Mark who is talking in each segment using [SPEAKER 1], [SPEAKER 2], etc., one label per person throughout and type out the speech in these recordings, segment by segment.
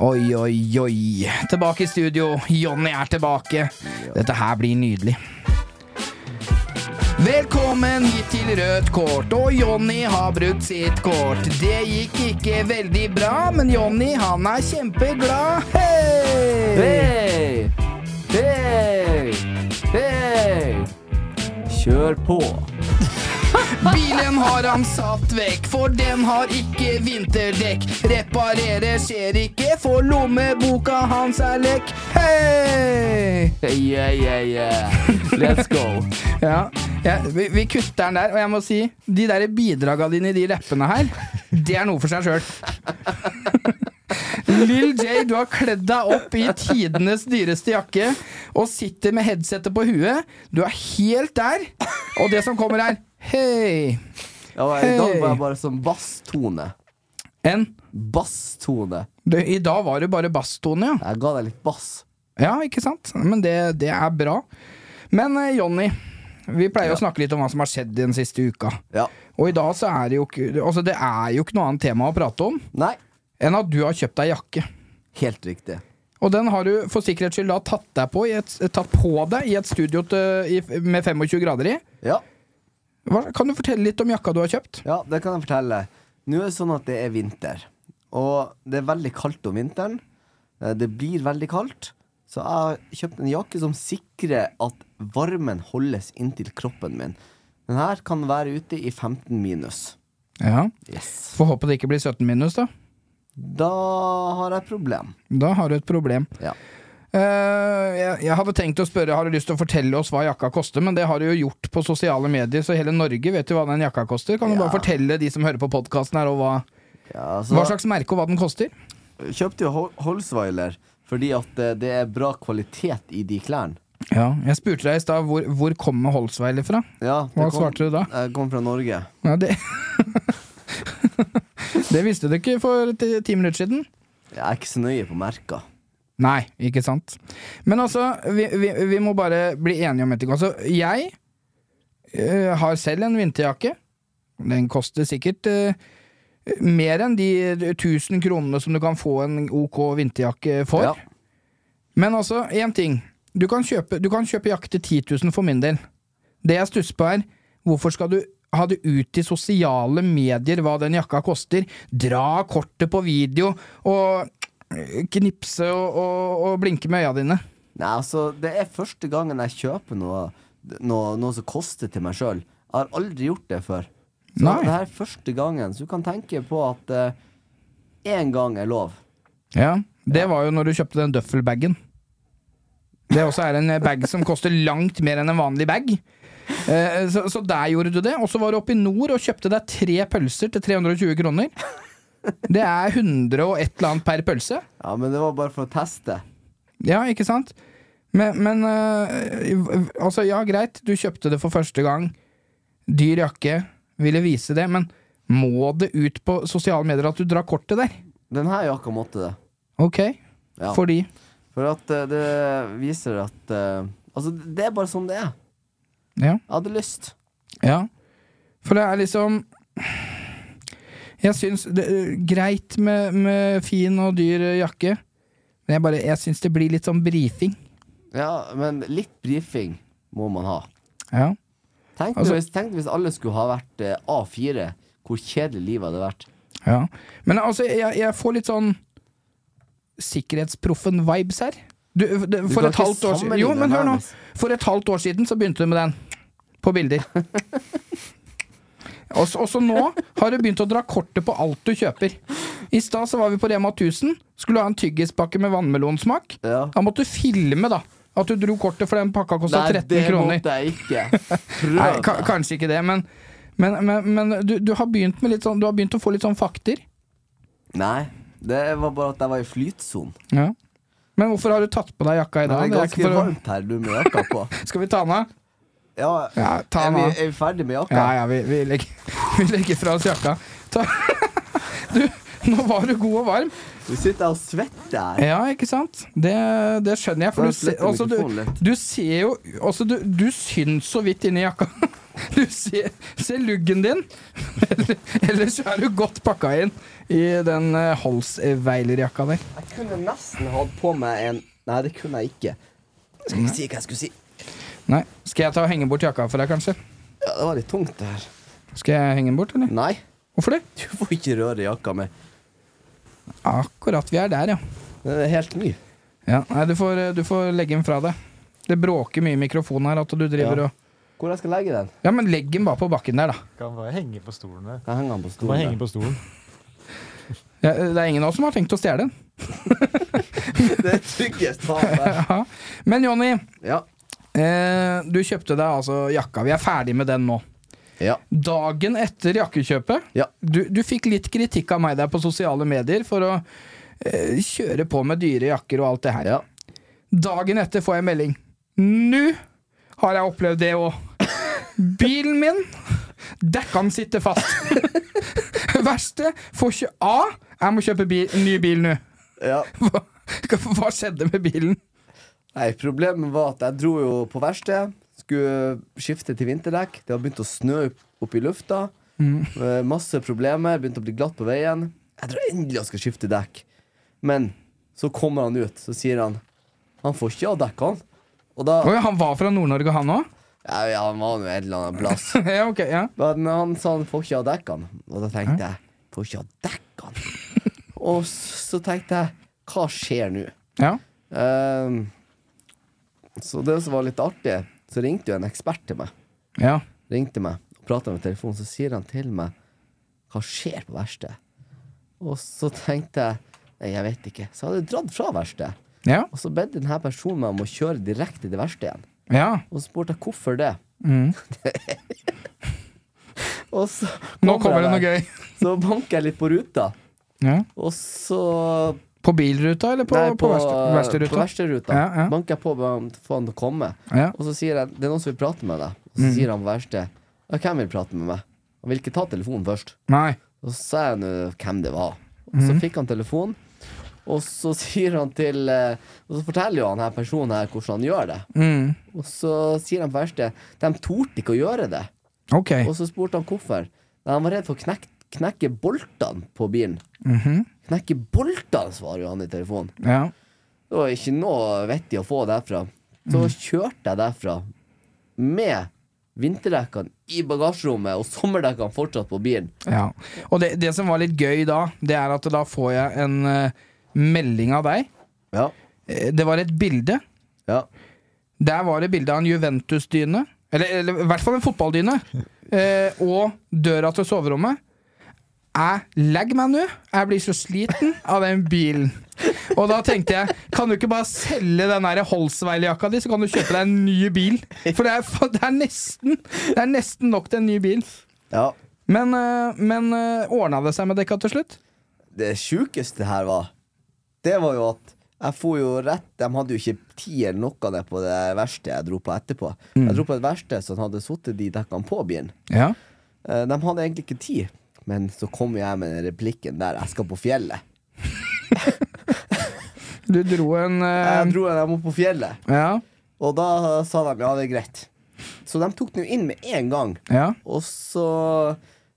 [SPEAKER 1] Oi, oi, oi. Tilbake i studio. Jonny er tilbake. Dette her blir nydelig. Velkommen hit til rødt kort, og Jonny har brukt sitt kort. Det gikk ikke veldig bra, men Jonny han er kjempeglad. Hei!
[SPEAKER 2] Hei! Hei! Hei! Kjør på.
[SPEAKER 1] Bilen har han satt vekk, for den har ikke vinterdekk. Reparere skjer ikke, for lommeboka hans er lekk. Hei!
[SPEAKER 2] Yeah, yeah, yeah. Let's go.
[SPEAKER 1] Ja, ja vi, vi kutter den der, og jeg må si De der bidraga dine i de rappene her, det er noe for seg sjøl. Lill J, du har kledd deg opp i tidenes dyreste jakke og sitter med headsetet på huet. Du er helt der, og det som kommer, er hei.
[SPEAKER 2] Ja, men I dag var
[SPEAKER 1] Hei.
[SPEAKER 2] jeg bare som basstone.
[SPEAKER 1] En.
[SPEAKER 2] Basstone.
[SPEAKER 1] Du, I dag var det bare basstone, ja.
[SPEAKER 2] Jeg ga deg litt bass.
[SPEAKER 1] Ja, ikke sant? Men det, det er bra. Men eh, Jonny, vi pleier å snakke litt om hva som har skjedd den siste uka.
[SPEAKER 2] Ja.
[SPEAKER 1] Og i dag så er det jo ikke Altså det er jo ikke noe annet tema å prate om
[SPEAKER 2] Nei,
[SPEAKER 1] enn at du har kjøpt deg jakke.
[SPEAKER 2] helt riktig.
[SPEAKER 1] Og den har du for sikkerhets skyld da tatt, deg på i et, tatt på deg i et studio til, i, med 25 grader i.
[SPEAKER 2] Ja.
[SPEAKER 1] Hva, kan du fortelle litt om jakka du har kjøpt?
[SPEAKER 2] Ja, det kan jeg fortelle. Nå er det sånn at det er vinter. Og det er veldig kaldt om vinteren. Eh, Det blir veldig kaldt. Så jeg har kjøpt en jakke som sikrer at varmen holdes inntil kroppen min. Den her kan være ute i 15 minus.
[SPEAKER 1] Ja,
[SPEAKER 2] Yes.
[SPEAKER 1] Får håpe det ikke blir 17 minus, da.
[SPEAKER 2] Da har jeg problem.
[SPEAKER 1] Da har du et problem.
[SPEAKER 2] Ja.
[SPEAKER 1] Eh, jeg, jeg hadde tenkt å spørre Har du lyst til å fortelle oss hva jakka koster, men det har du jo gjort på sosiale medier, så hele Norge vet jo hva den jakka koster. Kan du
[SPEAKER 2] Ja.
[SPEAKER 1] bare fortelle de som hører på podkasten her, og hva,
[SPEAKER 2] Ja, så
[SPEAKER 1] hva slags merke og hva den koster?
[SPEAKER 2] kjøpte jo Hol- Holsweiler fordi at eh, det er bra kvalitet i de klærne.
[SPEAKER 1] Ja, jeg spurte deg i stad hvor, hvor kommer Holsweiler fra?
[SPEAKER 2] Ja, det
[SPEAKER 1] Hva
[SPEAKER 2] kom-
[SPEAKER 1] svarte du da?
[SPEAKER 2] Jeg kom fra Norge.
[SPEAKER 1] Ja, det Det visste du ikke for ti, ti minutter siden.
[SPEAKER 2] Jeg er ikke så nøye på merker.
[SPEAKER 1] Nei, ikke sant. Men altså, vi, vi, vi må bare bli enige om en ting. Altså, jeg eh, har selv en vinterjakke. Den koster sikkert eh, mer enn de 1000 kronene som du kan få en ok vinterjakke for.
[SPEAKER 2] Ja.
[SPEAKER 1] Men altså, én ting. Du kan, kjøpe, du kan kjøpe jakke til 10 000 for min del. Det jeg stusser på, er hvorfor skal du ha det ut i sosiale medier hva den jakka koster? Dra kortet på video og knipse og, og, og blinke med øya dine.
[SPEAKER 2] Nei, altså, det er første gangen jeg kjøper noe, noe, noe som koster til meg sjøl. Jeg har aldri gjort det før. Så
[SPEAKER 1] Nei.
[SPEAKER 2] det her er første gangen, så du kan tenke på at én gang er lov.
[SPEAKER 1] Ja, Det var jo når du kjøpte den duffelbagen. Det også er en bag som koster langt mer enn en vanlig bag. Eh, Så, så der gjorde du det. Og så var du oppe i nord og kjøpte deg tre pølser til 320 kroner. Det er 100 og et eller annet per pølse.
[SPEAKER 2] Ja, men det var bare for å teste.
[SPEAKER 1] Ja, ikke sant? Men, men eh, altså, ja, greit, du kjøpte det for første gang. Dyr jakke, ville vise det, men må det ut på sosiale medier at du drar kortet der?
[SPEAKER 2] Denne jakka måtte det.
[SPEAKER 1] Ok,
[SPEAKER 2] Ja. For,
[SPEAKER 1] fordi
[SPEAKER 2] at eh, det viser at eh, Altså, det er bare sånn det er.
[SPEAKER 1] Ja.
[SPEAKER 2] Jeg hadde lyst.
[SPEAKER 1] Ja. For det er liksom Jeg syns det er greit med, med fin og dyr jakke, men jeg, bare- jeg syns det blir litt sånn brifing.
[SPEAKER 2] Ja, men litt brifing må man ha.
[SPEAKER 1] Ja.
[SPEAKER 2] Tenk,
[SPEAKER 1] Altså-
[SPEAKER 2] hvis, tenk hvis alle skulle ha vært eh, A4, hvor kjedelig livet hadde vært.
[SPEAKER 1] ja. Men altså, jeg, jeg får litt sånn Sikkerhetsproffen-vibes her. Du, det, for
[SPEAKER 2] kan
[SPEAKER 1] et
[SPEAKER 2] ikke
[SPEAKER 1] halvt år siden
[SPEAKER 2] sammenligne
[SPEAKER 1] Jo, men
[SPEAKER 2] den
[SPEAKER 1] hør
[SPEAKER 2] her, altså.
[SPEAKER 1] nå.
[SPEAKER 2] Nils.
[SPEAKER 1] For et halvt år siden så begynte du med den. På bilder. Også, også nå har du begynt å dra kortet på alt du kjøper. I stad så var vi på Rema 1000. Skulle ha en tyggispakke med vannmelonsmak.
[SPEAKER 2] Ja.
[SPEAKER 1] Da måtte du filme, da. At du dro kortet, for den pakka kosta 13
[SPEAKER 2] det
[SPEAKER 1] kroner.
[SPEAKER 2] måtte jeg ikke. Prøv.
[SPEAKER 1] Nei,
[SPEAKER 2] da.
[SPEAKER 1] ka kanskje ikke det, men, men, men, men du, du har begynt med litt sånn Du har begynt å få litt sånn fakter.
[SPEAKER 2] Nei, det var bare at jeg var i flytsonen.
[SPEAKER 1] Ja. Men hvorfor har du tatt på deg jakka i
[SPEAKER 2] Det
[SPEAKER 1] dag?
[SPEAKER 2] er
[SPEAKER 1] Det er
[SPEAKER 2] ganske
[SPEAKER 1] ikke for å-
[SPEAKER 2] varmt her du med jakka på.
[SPEAKER 1] Skal vi ta den av?
[SPEAKER 2] Ja,
[SPEAKER 1] Ja, ta
[SPEAKER 2] er,
[SPEAKER 1] den
[SPEAKER 2] vi,
[SPEAKER 1] av.
[SPEAKER 2] er vi ferdig med jakka?
[SPEAKER 1] Ja, ja, vi, vi, legger, vi legger fra oss jakka. Ta, du, Nå var du god og varm.
[SPEAKER 2] Du sitter og svetter her.
[SPEAKER 1] Ja, ikke sant? Det, det skjønner jeg. For
[SPEAKER 2] Da
[SPEAKER 1] du, se,
[SPEAKER 2] sletter
[SPEAKER 1] altså, du,
[SPEAKER 2] mikrofonen litt.
[SPEAKER 1] du ser jo altså, du, du syns så vidt inni jakka. Du ser, ser luggen din. Eller- Ellers så er du godt pakka inn i den eh, halsveilerjakka der.
[SPEAKER 2] Jeg kunne nesten hatt på meg en Nei, det kunne jeg ikke. Skal jeg si hva jeg skulle si?
[SPEAKER 1] Nei. Skal jeg ta og henge bort jakka for deg, kanskje?
[SPEAKER 2] Ja, Det var litt tungt, det her.
[SPEAKER 1] Skal jeg henge den bort, eller?
[SPEAKER 2] Nei,
[SPEAKER 1] Hvorfor det?
[SPEAKER 2] du får ikke røre jakka mi.
[SPEAKER 1] Akkurat. Vi er der, ja.
[SPEAKER 2] Den er helt ny.
[SPEAKER 1] ja. Nei, du får, du får legge den fra deg. Det bråker mye i mikrofonen her at du driver
[SPEAKER 2] Ja.
[SPEAKER 1] og
[SPEAKER 2] Hvor jeg skal legge den?
[SPEAKER 1] Ja, men legg den bare på bakken der, da.
[SPEAKER 3] Kan bare henge på stolen der.
[SPEAKER 2] Jeg henger den på
[SPEAKER 3] Kan bare
[SPEAKER 2] stolen.
[SPEAKER 3] henge på stolen.
[SPEAKER 1] Ja, det er ingen av oss som har tenkt å stjele den.
[SPEAKER 2] der. Det er tryggest faen der.
[SPEAKER 1] Ja. Men Jonny,
[SPEAKER 2] Ja.
[SPEAKER 1] Eh, du kjøpte deg altså jakka. Vi er ferdig med den nå.
[SPEAKER 2] Ja.
[SPEAKER 1] Dagen etter jakkekjøpet
[SPEAKER 2] Ja.
[SPEAKER 1] Du, du fikk litt kritikk av meg der på sosiale medier for å eh, kjøre på med dyre jakker og alt det her.
[SPEAKER 2] Ja.
[SPEAKER 1] Dagen etter får jeg melding. Nå har jeg opplevd det òg. Bilen min Dekkene sitter fast. Verste får ikke A. Jeg må kjøpe bil, ny bil nå.
[SPEAKER 2] ja.
[SPEAKER 1] Hva, hva skjedde med bilen?
[SPEAKER 2] Nei, problemet var at jeg dro jo på verksted. Skulle skifte til vinterdekk. Det har begynt å snø opp- opp i lufta. Eh, Masse problemer. Begynte å bli glatt på veien. Jeg tror endelig han skal skifte dekk. Men så kommer han ut, så sier han Han får ikke av dekkene. Og da
[SPEAKER 1] Oi, han var fra Nord-Norge, han òg?
[SPEAKER 2] ja, ja, han var nå en eller annen plass.
[SPEAKER 1] ja, ok, ja.
[SPEAKER 2] Men han sa han får ikke av dekkene. Og da tenkte jeg Får ikke av dekkene? Og s- så tenkte jeg Hva skjer nå?
[SPEAKER 1] ja.
[SPEAKER 2] Ehm, så det som var litt artig, så ringte jo en ekspert til meg.
[SPEAKER 1] Ja.
[SPEAKER 2] Ringte meg og prata med telefonen, så sier han til meg hva skjer på verkstedet. Og så tenkte jeg nei, jeg vet ikke. Så jeg hadde dratt fra verkstedet.
[SPEAKER 1] Ja.
[SPEAKER 2] Og så bedte denne personen meg om å kjøre direkte til verkstedet igjen.
[SPEAKER 1] ja.
[SPEAKER 2] Og så spurte jeg hvorfor det.
[SPEAKER 1] Mm.
[SPEAKER 2] Og så
[SPEAKER 1] Nå kommer det
[SPEAKER 2] jeg
[SPEAKER 1] noe
[SPEAKER 2] der.
[SPEAKER 1] gøy.
[SPEAKER 2] Så banker jeg litt på ruta,
[SPEAKER 1] Ja.
[SPEAKER 2] og så
[SPEAKER 1] På bilruta eller på,
[SPEAKER 2] Nei,
[SPEAKER 1] på, verkste-
[SPEAKER 2] på
[SPEAKER 1] verkstedruta?
[SPEAKER 2] verksteruta.
[SPEAKER 1] Ja, ja.
[SPEAKER 2] Banker jeg på med å få han til å komme.
[SPEAKER 1] Ja. Mm.
[SPEAKER 2] Og så sier jeg det er noen som vil prate med deg. Og så sier han på verkstedet ja, hvem vil prate med meg? Han vil ikke ta telefonen først.
[SPEAKER 1] Nei.
[SPEAKER 2] Og så sa jeg nå hvem det var. Og så
[SPEAKER 1] Mm.
[SPEAKER 2] fikk han telefonen, og så sier han til eh, Og så forteller jo han her personen her hvordan han gjør det.
[SPEAKER 1] Mm.
[SPEAKER 2] Og så sier han på verkstedet de torde ikke å gjøre det.
[SPEAKER 1] Ok.
[SPEAKER 2] Og så spurte han hvorfor. Nei, han var redd for å knek knekke boltene på bilen.
[SPEAKER 1] Mhm.
[SPEAKER 2] Knekke boltene, svarer jo han i telefonen.
[SPEAKER 1] Ja.
[SPEAKER 2] Det var ikke noe vettig å få derfra. Så kjørte jeg derfra med vinterdekkene i bagasjerommet og sommerdekkene fortsatt på bilen.
[SPEAKER 1] ja. Og det, det som var litt gøy da, det er at da får jeg en eh, melding av deg.
[SPEAKER 2] Ja.
[SPEAKER 1] Eh, Det var et bilde.
[SPEAKER 2] Ja.
[SPEAKER 1] Der var det bilde av en Juventus-dyne. Eller, eller i hvert fall en fotballdyne. Eh, og døra til soverommet. Jeg legger meg nå. Jeg blir så sliten av den bilen. Og da tenkte jeg, kan du ikke bare selge den der Holsweiler-jakka di, så kan du kjøpe deg en ny bil? For det er, for det er, nesten, det er nesten nok til en ny bil.
[SPEAKER 2] ja.
[SPEAKER 1] Men, eh, men ordna det seg med dekka til slutt?
[SPEAKER 2] Det sjukeste her var Det var jo at jeg for jo rett De hadde jo ikke tid eller noe ned på det verste jeg dro på etterpå. Jeg dro på et verksted som hadde sittet de dekkene på bilen.
[SPEAKER 1] Ja.
[SPEAKER 2] Eh, De hadde egentlig ikke tid, men så kom jeg med den replikken der 'jeg skal på fjellet'.
[SPEAKER 1] Du dro en eh,
[SPEAKER 2] Jeg dro den, jeg må på fjellet.
[SPEAKER 1] Ja.
[SPEAKER 2] Og da sa de ja, det er greit. Så de tok den jo inn med en gang.
[SPEAKER 1] Ja.
[SPEAKER 2] Og så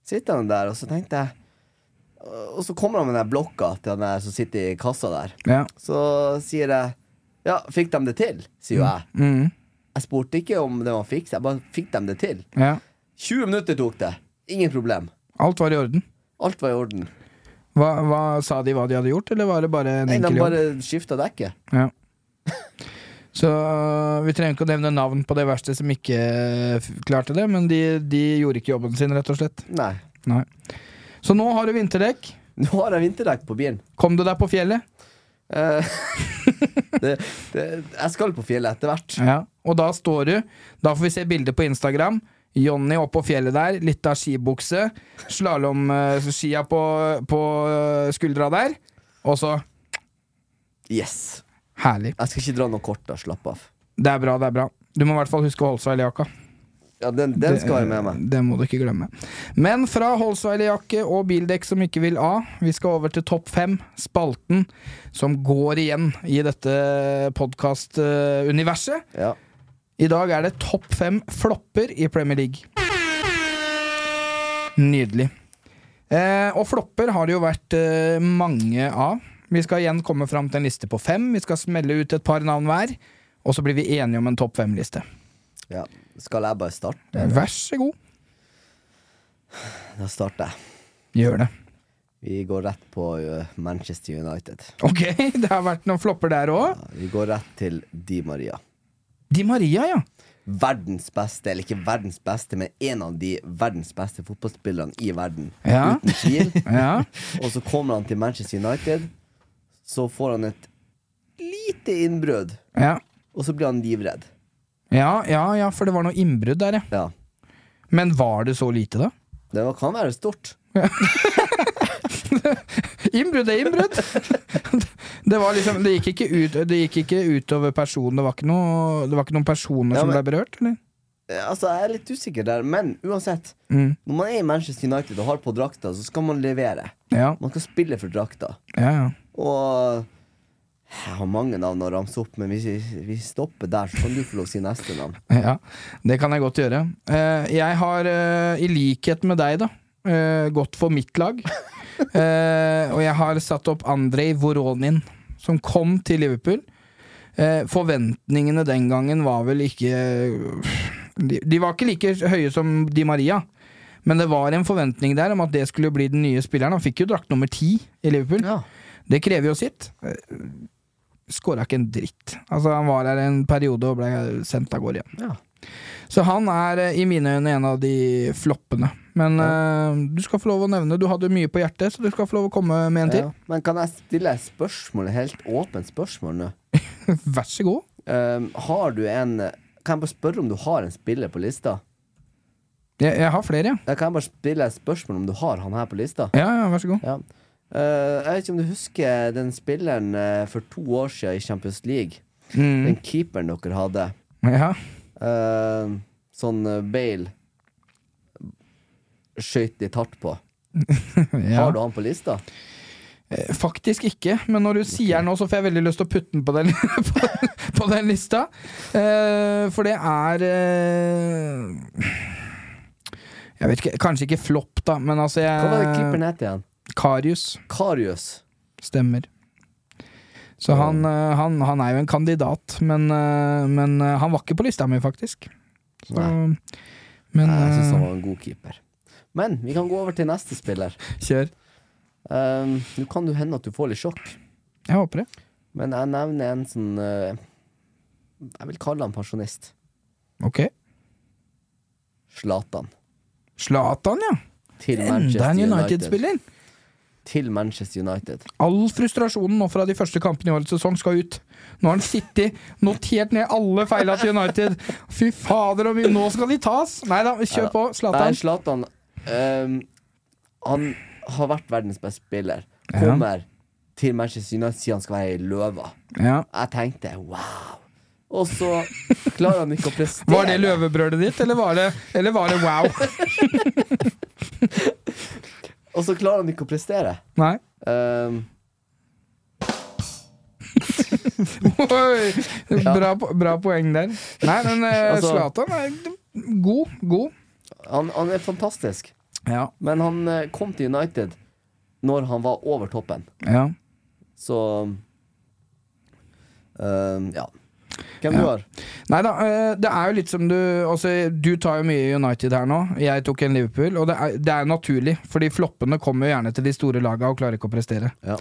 [SPEAKER 2] sitter han der, og så tenkte jeg Og så kommer han med den der blokka til han der som sitter i kassa der.
[SPEAKER 1] ja.
[SPEAKER 2] Så sier jeg ja, fikk de det til? sier jo jeg.
[SPEAKER 1] Mm,
[SPEAKER 2] Jeg spurte ikke om det var fiks, jeg bare fikk de det til.
[SPEAKER 1] ja.
[SPEAKER 2] 20 minutter tok det. Ingen problem.
[SPEAKER 1] Alt var i orden.
[SPEAKER 2] Alt var i orden.
[SPEAKER 1] Hva, hva Sa de hva de hadde gjort, eller var det bare en
[SPEAKER 2] Nei, de
[SPEAKER 1] enkel jobb?
[SPEAKER 2] bare skifta dekket.
[SPEAKER 1] Ja. Så øh, vi trenger ikke å nevne navn på det verste som ikke øh, f- klarte det, men de, de gjorde ikke jobben sin, rett og slett.
[SPEAKER 2] Nei.
[SPEAKER 1] Nei. Så nå har du vinterdekk.
[SPEAKER 2] Nå har jeg vinterdekk på bilen.
[SPEAKER 1] Kom du deg på fjellet?
[SPEAKER 2] Eh, det, det, jeg skal på fjellet etter hvert.
[SPEAKER 1] Ja. Og da står du. Da får vi se bilder på Instagram. Jonny oppå fjellet der, litt av skibukse, slalåmskia på, på øh, skuldra der, og så
[SPEAKER 2] Yes.
[SPEAKER 1] Herlig.
[SPEAKER 2] Jeg skal ikke dra noe kort, da. Slapp av.
[SPEAKER 1] Det er bra, det er bra. Du må i hvert fall huske å holde seg i jakka.
[SPEAKER 2] Ja, den, den skal være med meg.
[SPEAKER 1] Det må du ikke glemme. Men fra Holsweiler-jakke og bildekk som ikke vil av, vi skal over til topp fem, spalten som går igjen i dette eh, podkast-universet.
[SPEAKER 2] Ja.
[SPEAKER 1] I dag er det topp fem flopper i Premier League. Nydelig. Eh, og flopper har det jo vært eh, mange av. Vi skal igjen komme fram til en liste på fem. Vi skal smelle ut et par navn hver. Og så blir vi enige om en topp fem-liste.
[SPEAKER 2] ja. Skal jeg bare starte?
[SPEAKER 1] Vær så god.
[SPEAKER 2] Da starter jeg.
[SPEAKER 1] Gjør det.
[SPEAKER 2] Vi går rett på eh, Manchester United.
[SPEAKER 1] Ok, det har vært noen flopper der òg.
[SPEAKER 2] Ja, vi går rett til Di Maria.
[SPEAKER 1] Di Maria, ja.
[SPEAKER 2] Verdens beste, eller ikke verdens beste, men en av de verdens beste fotballspillerne i verden.
[SPEAKER 1] Ja.
[SPEAKER 2] Uten tvil.
[SPEAKER 1] ja.
[SPEAKER 2] Og så kommer han til Manchester United. Så får han et lite innbrudd,
[SPEAKER 1] Ja.
[SPEAKER 2] og så blir han livredd.
[SPEAKER 1] Ja, ja, ja, for det var noe innbrudd der, ja.
[SPEAKER 2] Ja.
[SPEAKER 1] Men var det så lite, da?
[SPEAKER 2] Det var- kan være stort.
[SPEAKER 1] Innbrudd er innbrudd! Det, var liksom, det, gikk ikke ut, det gikk ikke utover personen. Det var ikke, noe, det var ikke noen personer
[SPEAKER 2] Ja,
[SPEAKER 1] som ble
[SPEAKER 2] men-
[SPEAKER 1] berørt, eller?
[SPEAKER 2] Eh, Altså, Jeg er litt usikker der, men uansett.
[SPEAKER 1] Mm.
[SPEAKER 2] Når man er i Manchester United og har på drakta, så skal man levere.
[SPEAKER 1] Ja,
[SPEAKER 2] Man skal spille for drakta.
[SPEAKER 1] ja, ja.
[SPEAKER 2] Og jeg har mange navn å ramse opp, men hvis vi, vi stopper der, så kan du få lov å si neste navn.
[SPEAKER 1] Ja, det kan jeg godt gjøre. Eh, jeg har, eh, i likhet med deg, da, eh, gått for mitt lag. Eh, og jeg har satt opp Andrej Voronin, som kom til Liverpool. Eh, forventningene den gangen var vel ikke de, de var ikke like høye som Di Maria. Men det var en forventning der om at det skulle bli den nye spilleren. Han fikk jo drakt nummer ti i Liverpool. Det krever jo sitt. Skåra ikke en dritt. Altså, han var her en periode og ble sendt av gårde igjen.
[SPEAKER 2] Ja.
[SPEAKER 1] Så han er eh, i mine øyne en av de floppene. Men eh, du skal få lov å nevne Du hadde mye på hjertet, så du skal få lov å komme med en til.
[SPEAKER 2] Ja. Men kan jeg stille et spørsmål, et helt åpent spørsmål nå?
[SPEAKER 1] Vær så god.
[SPEAKER 2] Um, har du en Kan jeg bare spørre om du har en spiller på lista?
[SPEAKER 1] Jeg, jeg har flere, jeg.
[SPEAKER 2] Jeg kan jeg bare stille et spørsmål om du har han her på lista?
[SPEAKER 1] Ja. ja, vær så god.
[SPEAKER 2] Ja. Uh, jeg vet ikke om du husker den spilleren uh, for to år siden i Champions League.
[SPEAKER 1] Mm.
[SPEAKER 2] Den keeperen dere hadde.
[SPEAKER 1] Ja.
[SPEAKER 2] Uh, sånn uh, Bale skøyt litt hardt på.
[SPEAKER 1] ja.
[SPEAKER 2] Har du han på lista?
[SPEAKER 1] Eh, Faktisk ikke, men når du sier den nå, så får jeg veldig lyst til å putte den på den, på, på den lista. Eh, for det er eh, Jeg vet ikke, kanskje ikke flopp, da, men altså
[SPEAKER 2] Hva var det
[SPEAKER 1] jeg,
[SPEAKER 2] keeperen het igjen?
[SPEAKER 1] Karius
[SPEAKER 2] Karius.
[SPEAKER 1] stemmer. Så han, eh, han, han er jo en kandidat, men, eh, men eh, han var ikke på lista mi, faktisk. Så,
[SPEAKER 2] Nei.
[SPEAKER 1] men
[SPEAKER 2] Nei, jeg syns han
[SPEAKER 1] eh,
[SPEAKER 2] var en god keeper. Men vi kan gå over til neste spiller.
[SPEAKER 1] eh, kjør.
[SPEAKER 2] Um, Nå kan det hende at du får litt sjokk,
[SPEAKER 1] Jeg håper det.
[SPEAKER 2] men jeg nevner en sånn uh, Jeg vil kalle han pensjonist.
[SPEAKER 1] Ok.
[SPEAKER 2] Zlatan.
[SPEAKER 1] Zlatan, ja.
[SPEAKER 2] Til
[SPEAKER 1] Enda
[SPEAKER 2] Manchester
[SPEAKER 1] en
[SPEAKER 2] United.
[SPEAKER 1] United-spiller.
[SPEAKER 2] Til Manchester United.
[SPEAKER 1] All frustrasjonen nå fra de første kampene i årets sesong skal ut. Nå har han sittet, notert ned alle feila til United. Fy fader, og mye- nå skal de tas! Nei da, kjør på,
[SPEAKER 2] Nei,
[SPEAKER 1] Zlatan.
[SPEAKER 2] Zlatan um, Han har vært verdens beste spiller.
[SPEAKER 1] Ja.
[SPEAKER 2] Kommer til Manchester United, sier han skal være i løva.
[SPEAKER 1] Ja.
[SPEAKER 2] Jeg tenkte wow. Og så klarer han ikke å prestere.
[SPEAKER 1] Var det løvebrølet ditt, eller var det, eller var det wow?
[SPEAKER 2] Og så klarer han ikke å prestere.
[SPEAKER 1] Nei.
[SPEAKER 2] Um,
[SPEAKER 1] Oi, bra, po- bra poeng der. Nei, men eh,
[SPEAKER 2] Altså-
[SPEAKER 1] Zlatan er god. God.
[SPEAKER 2] han, han er fantastisk,
[SPEAKER 1] Ja.
[SPEAKER 2] men han eh, kom til United når han var over toppen.
[SPEAKER 1] ja.
[SPEAKER 2] Så um, ja. Hvem du
[SPEAKER 1] Ja.
[SPEAKER 2] har?
[SPEAKER 1] Nei da, eh, det er jo litt som du altså, Du tar jo mye United her nå. Jeg tok en Liverpool, og det er, det er naturlig. Fordi floppene kommer jo gjerne til de store laga og klarer ikke å prestere.
[SPEAKER 2] Ja.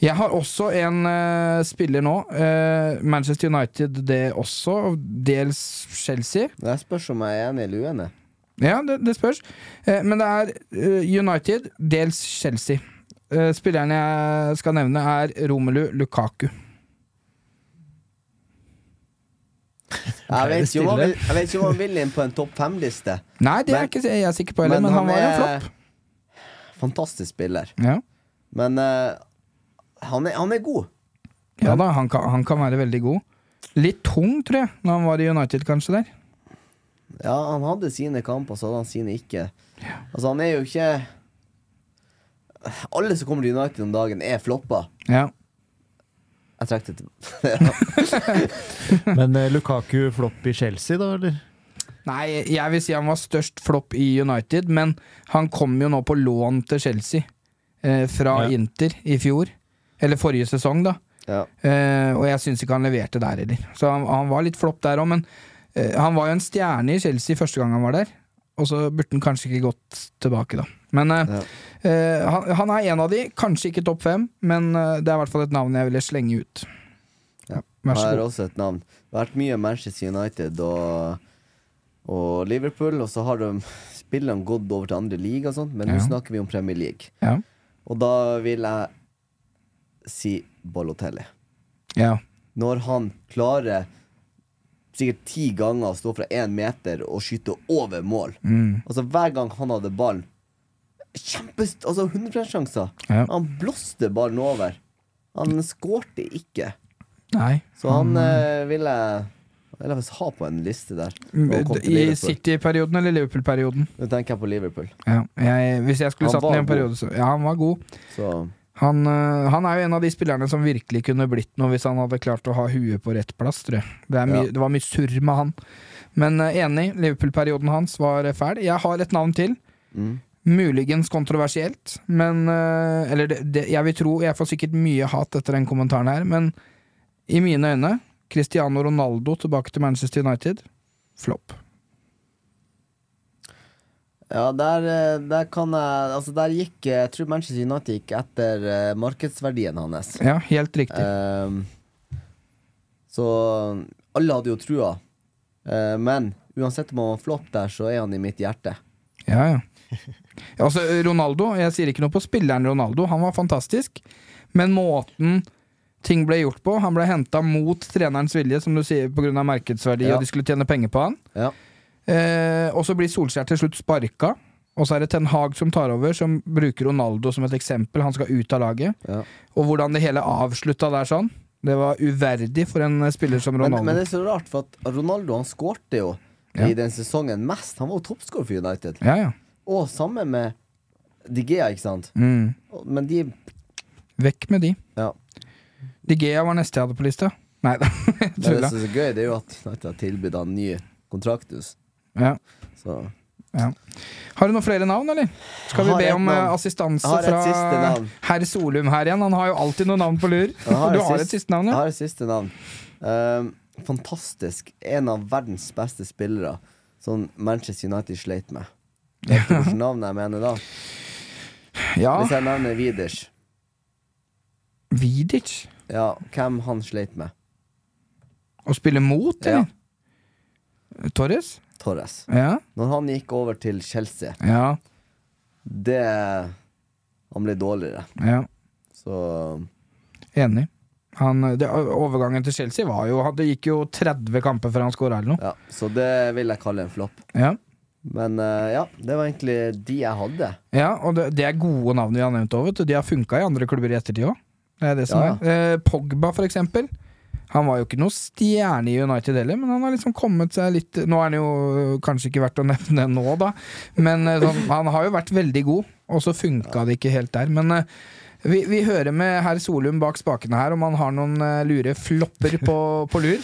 [SPEAKER 1] Jeg har også en eh, spiller nå. eh, Manchester United, det også. og Dels Chelsea.
[SPEAKER 2] Det spørs om jeg er enig eller uenig.
[SPEAKER 1] Ja, det, det spørs. Eh, men det er eh, United, dels Chelsea. Eh, spilleren jeg skal nevne, er Romelu Lukaku.
[SPEAKER 2] Jeg
[SPEAKER 1] det
[SPEAKER 2] vet, ikke om han
[SPEAKER 1] stille.
[SPEAKER 2] vil, jeg vet ikke om han vil inn på en topp fem-liste,
[SPEAKER 1] Nei, det
[SPEAKER 2] Men-
[SPEAKER 1] er ikke jeg er sikker på heller, men, han, var en flopp.
[SPEAKER 2] fantastisk spiller.
[SPEAKER 1] Ja.
[SPEAKER 2] Men eh, han, er, han er god.
[SPEAKER 1] ja da, han kan, han kan være veldig god. Litt tung, tror jeg, når han var i United, kanskje der.
[SPEAKER 2] Ja, han hadde sine kamper, så hadde han sine ikke. Altså, han er jo ikke Alle som kommer til United om dagen, er floppa.
[SPEAKER 1] Ja.
[SPEAKER 2] Jeg trekker det tilbake.
[SPEAKER 3] Men eh, Lukaku flopp i Chelsea, da, eller?
[SPEAKER 1] Nei, jeg vil si han var størst flopp i United, men han kom jo nå på lån til Chelsea eh, fra
[SPEAKER 3] Ja.
[SPEAKER 1] Inter i fjor. Eller forrige sesong, da.
[SPEAKER 2] ja.
[SPEAKER 1] Eh, og jeg syns ikke han leverte der heller. Så han, han var litt flopp der òg, men eh, han var jo en stjerne i Chelsea første gang han var der. Og så burde han kanskje ikke gått tilbake, da. Men eh, eh, han, han er en av de. Kanskje ikke topp fem, men eh, det er i hvert fall et navn jeg ville slenge ut.
[SPEAKER 2] Ja.
[SPEAKER 1] Vær
[SPEAKER 2] Jeg
[SPEAKER 1] så
[SPEAKER 2] har
[SPEAKER 1] god.
[SPEAKER 2] også et navn. Det har vært mye Manchester United og, og Liverpool, og så har de spillene gått over til andre liga og sånt, men nå
[SPEAKER 1] Ja.
[SPEAKER 2] snakker vi om Premier League.
[SPEAKER 1] Ja.
[SPEAKER 2] Og da vil jeg si Balotelli.
[SPEAKER 1] ja.
[SPEAKER 2] Når han klarer sikkert ti ganger å stå fra én meter og skyte over mål.
[SPEAKER 1] Mm.
[SPEAKER 2] Altså Hver gang han hadde ballen Kjempest, altså 100 sjanser.
[SPEAKER 1] Ja.
[SPEAKER 2] Han blåste ballen over. Han skårte ikke.
[SPEAKER 1] Nei.
[SPEAKER 2] Så han eh, vil jeg vil jeg ha på en liste der. når han kom
[SPEAKER 1] Mm,
[SPEAKER 2] til
[SPEAKER 1] I
[SPEAKER 2] Liverpool.
[SPEAKER 1] City-perioden eller Liverpool-perioden?
[SPEAKER 2] Nå tenker jeg på Liverpool.
[SPEAKER 1] Ja, jeg, hvis jeg skulle
[SPEAKER 2] Han
[SPEAKER 1] satt den
[SPEAKER 2] var
[SPEAKER 1] i en
[SPEAKER 2] god.
[SPEAKER 1] periode, så Ja, han var god.
[SPEAKER 2] Så
[SPEAKER 1] Han, øh, han er jo en av de spillerne som virkelig kunne blitt noe hvis han hadde klart å ha huet på rett plass, tror jeg. Det, er mye-
[SPEAKER 2] Ja.
[SPEAKER 1] det var mye surr med han. Men øh, enig, Liverpool-perioden hans var øh, fæl. Jeg har et navn til.
[SPEAKER 2] mm.
[SPEAKER 1] Muligens kontroversielt, men øh, Eller det, det, jeg vil tro Jeg får sikkert mye hat etter den kommentaren her, men i mine øyne Cristiano Ronaldo tilbake til Manchester United. Flopp.
[SPEAKER 2] Ja, der, eh, der kan jeg Altså, der gikk eh, Jeg tror Manchester United gikk etter eh, markedsverdien hans.
[SPEAKER 1] Ja, helt riktig.
[SPEAKER 2] Ehm, så alle hadde jo trua. Eh, men uansett om han var flopp der, så er han i mitt hjerte.
[SPEAKER 1] Ja, ja. Altså, Ronaldo, jeg sier ikke noe på spilleren Ronaldo, han var fantastisk. Men måten ting ble gjort på Han ble henta mot trenerens vilje, som du sier, pga. markedsverdi,
[SPEAKER 2] Ja.
[SPEAKER 1] og de skulle tjene penger på han.
[SPEAKER 2] Ja.
[SPEAKER 1] Eh, og så blir Solskjær til slutt sparka. Og så er det Ten Hag som tar over, som bruker Ronaldo som et eksempel. Han skal ut av laget.
[SPEAKER 2] Ja.
[SPEAKER 1] Og hvordan det hele avslutta der sånn, det var uverdig for en eh, spiller som
[SPEAKER 2] Men,
[SPEAKER 1] Ronaldo.
[SPEAKER 2] men det er så rart, for at Ronaldo han skårte jo
[SPEAKER 1] Ja.
[SPEAKER 2] i den sesongen mest. Han var jo toppskårer for United.
[SPEAKER 1] Ja, ja.
[SPEAKER 2] Og sammen med De Gea, ikke sant?
[SPEAKER 1] Mm.
[SPEAKER 2] Og- Men de
[SPEAKER 1] Vekk med de.
[SPEAKER 2] Ja.
[SPEAKER 1] De Gea var neste jeg hadde på lista. Nei da, jeg
[SPEAKER 2] Men det
[SPEAKER 1] tulla.
[SPEAKER 2] som er så gøy, det er jo at United har tilbudt han ny kontraktus.
[SPEAKER 1] Ja.
[SPEAKER 2] Så
[SPEAKER 1] Har du noen flere navn, eller? Skal vi
[SPEAKER 2] Jeg har
[SPEAKER 1] be
[SPEAKER 2] et
[SPEAKER 1] om eh,
[SPEAKER 2] navn.
[SPEAKER 1] assistanse
[SPEAKER 2] Jeg har et siste
[SPEAKER 1] fra
[SPEAKER 2] navn.
[SPEAKER 1] herr Solum her igjen? Han har jo alltid noen navn på lur.
[SPEAKER 2] Jeg har
[SPEAKER 1] du
[SPEAKER 2] et
[SPEAKER 1] har
[SPEAKER 2] sist-
[SPEAKER 1] et siste navn,
[SPEAKER 2] Jeg
[SPEAKER 1] ja?
[SPEAKER 2] har et siste navn. Ehm, fantastisk. En av verdens beste spillere som Manchester United sleit med. Vet du hvilket navn jeg mener da?
[SPEAKER 1] Ja,
[SPEAKER 2] Hvis jeg nevner Vidic,
[SPEAKER 1] Vidic.
[SPEAKER 2] ja, hvem han sleit med?
[SPEAKER 1] Å spille mot,
[SPEAKER 2] Ja.
[SPEAKER 1] eller? Torres?
[SPEAKER 2] Torres.
[SPEAKER 1] Ja.
[SPEAKER 2] Når han gikk over til Chelsea,
[SPEAKER 1] Ja.
[SPEAKER 2] det Han ble dårligere,
[SPEAKER 1] ja.
[SPEAKER 2] så
[SPEAKER 1] Enig. Han, det, overgangen til Chelsea var jo Det gikk jo 30 kamper før han skåra eller noe.
[SPEAKER 2] Ja, så det vil jeg kalle en flopp.
[SPEAKER 1] Ja.
[SPEAKER 2] Men eh, ja, det var egentlig de jeg hadde.
[SPEAKER 1] Ja, og det, det er gode navn vi har nevnt òg, vet du. De har funka i andre klubber i ettertid òg. Det er det som
[SPEAKER 2] Ja,
[SPEAKER 1] er. Eh, Pogba, for eksempel. Han var jo ikke noe stjerne i United heller, men han har liksom kommet seg litt Nå er han jo øh, kanskje ikke verdt å nevne nå, da, men eh, sånn, han har jo vært veldig god, og så funka det ikke helt der. Men eh, vi, vi hører med herr Solum bak spakene her om han har noen eh, lure flopper på, på lur.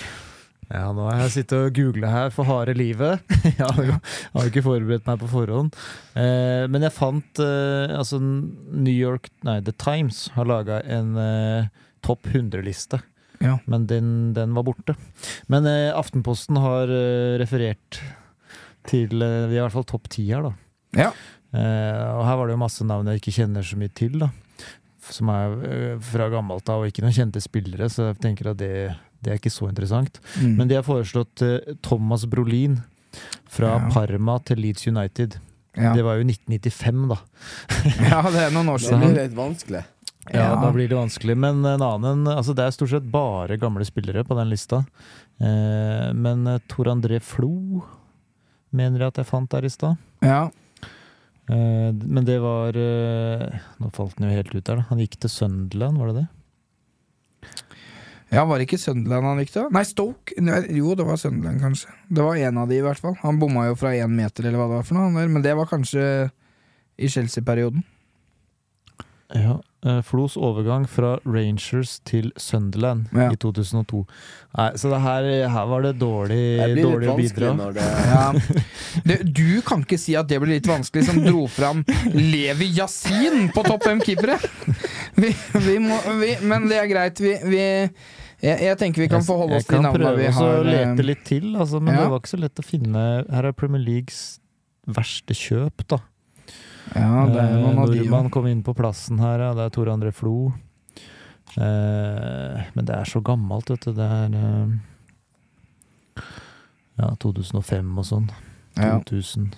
[SPEAKER 3] Ja, nå har jeg sittet og googla her for harde livet. Jeg har jo, har jo ikke forberedt meg på forhånd. Eh, men jeg fant eh, altså New York Nei, The Times har laga en eh, topp 100-liste.
[SPEAKER 1] Ja.
[SPEAKER 3] Men den, den var borte. Men eh, Aftenposten har eh, referert til eh, Vi er i hvert fall topp ti her, da.
[SPEAKER 1] Ja.
[SPEAKER 3] Eh, og her var det jo masse navn jeg ikke kjenner så mye til, da. Som er eh, fra gammelt av, og ikke noen kjente spillere, så jeg tenker at det, det er ikke så interessant.
[SPEAKER 1] Mm.
[SPEAKER 3] Men de har foreslått eh, Thomas Brolin fra
[SPEAKER 1] Ja.
[SPEAKER 3] Parma til Leeds United.
[SPEAKER 1] ja.
[SPEAKER 3] Det var jo 1995, da.
[SPEAKER 1] ja, det er noen år
[SPEAKER 2] Det
[SPEAKER 1] siden.
[SPEAKER 2] blir litt vanskelig.
[SPEAKER 3] Ja,
[SPEAKER 1] Ja.
[SPEAKER 3] Da blir det vanskelig. Men en annen altså Det er stort sett bare gamle spillere på den lista. Eh, men eh, Tor André Flo mener jeg at jeg fant der i stad.
[SPEAKER 1] Ja.
[SPEAKER 3] Eh, men det var eh, Nå falt han jo helt ut der, da. Han gikk til Sunderland, var det det?
[SPEAKER 1] Ja, var det ikke Sunderland han gikk til? Nei, Stoke. Nei, Jo, det var Sunderland, kanskje. Det var en av de, i hvert fall. Han bomma jo fra én meter, eller hva det var for noe, han der. Men det var kanskje i Chelsea-perioden.
[SPEAKER 3] Ja. eh, Flos overgang fra Rangers til Sunderland
[SPEAKER 1] Ja.
[SPEAKER 3] i 2002. Nei, så det her, her var det dårlig,
[SPEAKER 2] Det blir litt
[SPEAKER 3] dårlig
[SPEAKER 2] vanskelig
[SPEAKER 3] bidrag.
[SPEAKER 2] når det
[SPEAKER 1] Ja. Det, du kan ikke si at det blir litt vanskelig, som dro fram Levi Yasin på topp fem keepere! Vi, vi må, vi, men det er greit. Vi, vi jeg, jeg tenker vi kan forholde oss til
[SPEAKER 3] kan
[SPEAKER 1] navnene vi
[SPEAKER 3] prøve
[SPEAKER 1] har.
[SPEAKER 3] å lete
[SPEAKER 1] eh,
[SPEAKER 3] litt til, altså, men
[SPEAKER 1] ja.
[SPEAKER 3] det var ikke så lett å finne Her er Premier Leagues verste kjøp, da.
[SPEAKER 1] Ja, det er noen av de
[SPEAKER 3] Eh,
[SPEAKER 1] jo.
[SPEAKER 3] Nordmann kom inn på plassen her, ja. Det er Tor André Flo. Eh, men det er så gammelt, vet du. Det er eh, Ja, 2005 og sånn.
[SPEAKER 1] Ja.
[SPEAKER 3] 2000.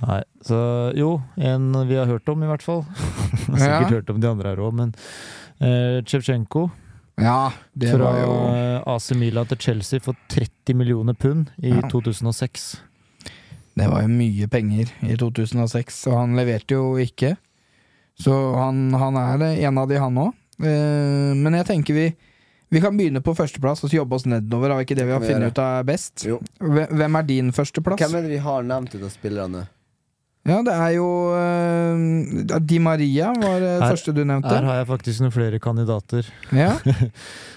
[SPEAKER 3] Nei, så jo, en vi har hørt om, i hvert fall. Jeg har
[SPEAKER 1] Ja.
[SPEAKER 3] sikkert hørt om de andre her òg, men eh, Shevchenko
[SPEAKER 1] ja, det
[SPEAKER 3] fra
[SPEAKER 1] var jo
[SPEAKER 3] eh, AC Milan til Chelsea for 30 millioner pund i
[SPEAKER 1] Ja.
[SPEAKER 3] 2006.
[SPEAKER 1] Det var jo mye penger i 2006, og han leverte jo ikke. Så han, han er en av de, han òg. men jeg tenker vi Vi kan begynne på førsteplass og så jobbe oss nedover. Er ikke det vi har
[SPEAKER 2] Kan vi gjøre.
[SPEAKER 1] funnet ut er best?
[SPEAKER 2] Jo.
[SPEAKER 1] Hve- Hvem er din førsteplass?
[SPEAKER 2] Hvem er det vi har nevnt ut av spillerne?
[SPEAKER 1] Ja, det er jo eh, Di Maria var det
[SPEAKER 3] Her-
[SPEAKER 1] første du nevnte.
[SPEAKER 3] Her har jeg faktisk noen flere kandidater.
[SPEAKER 1] Ja,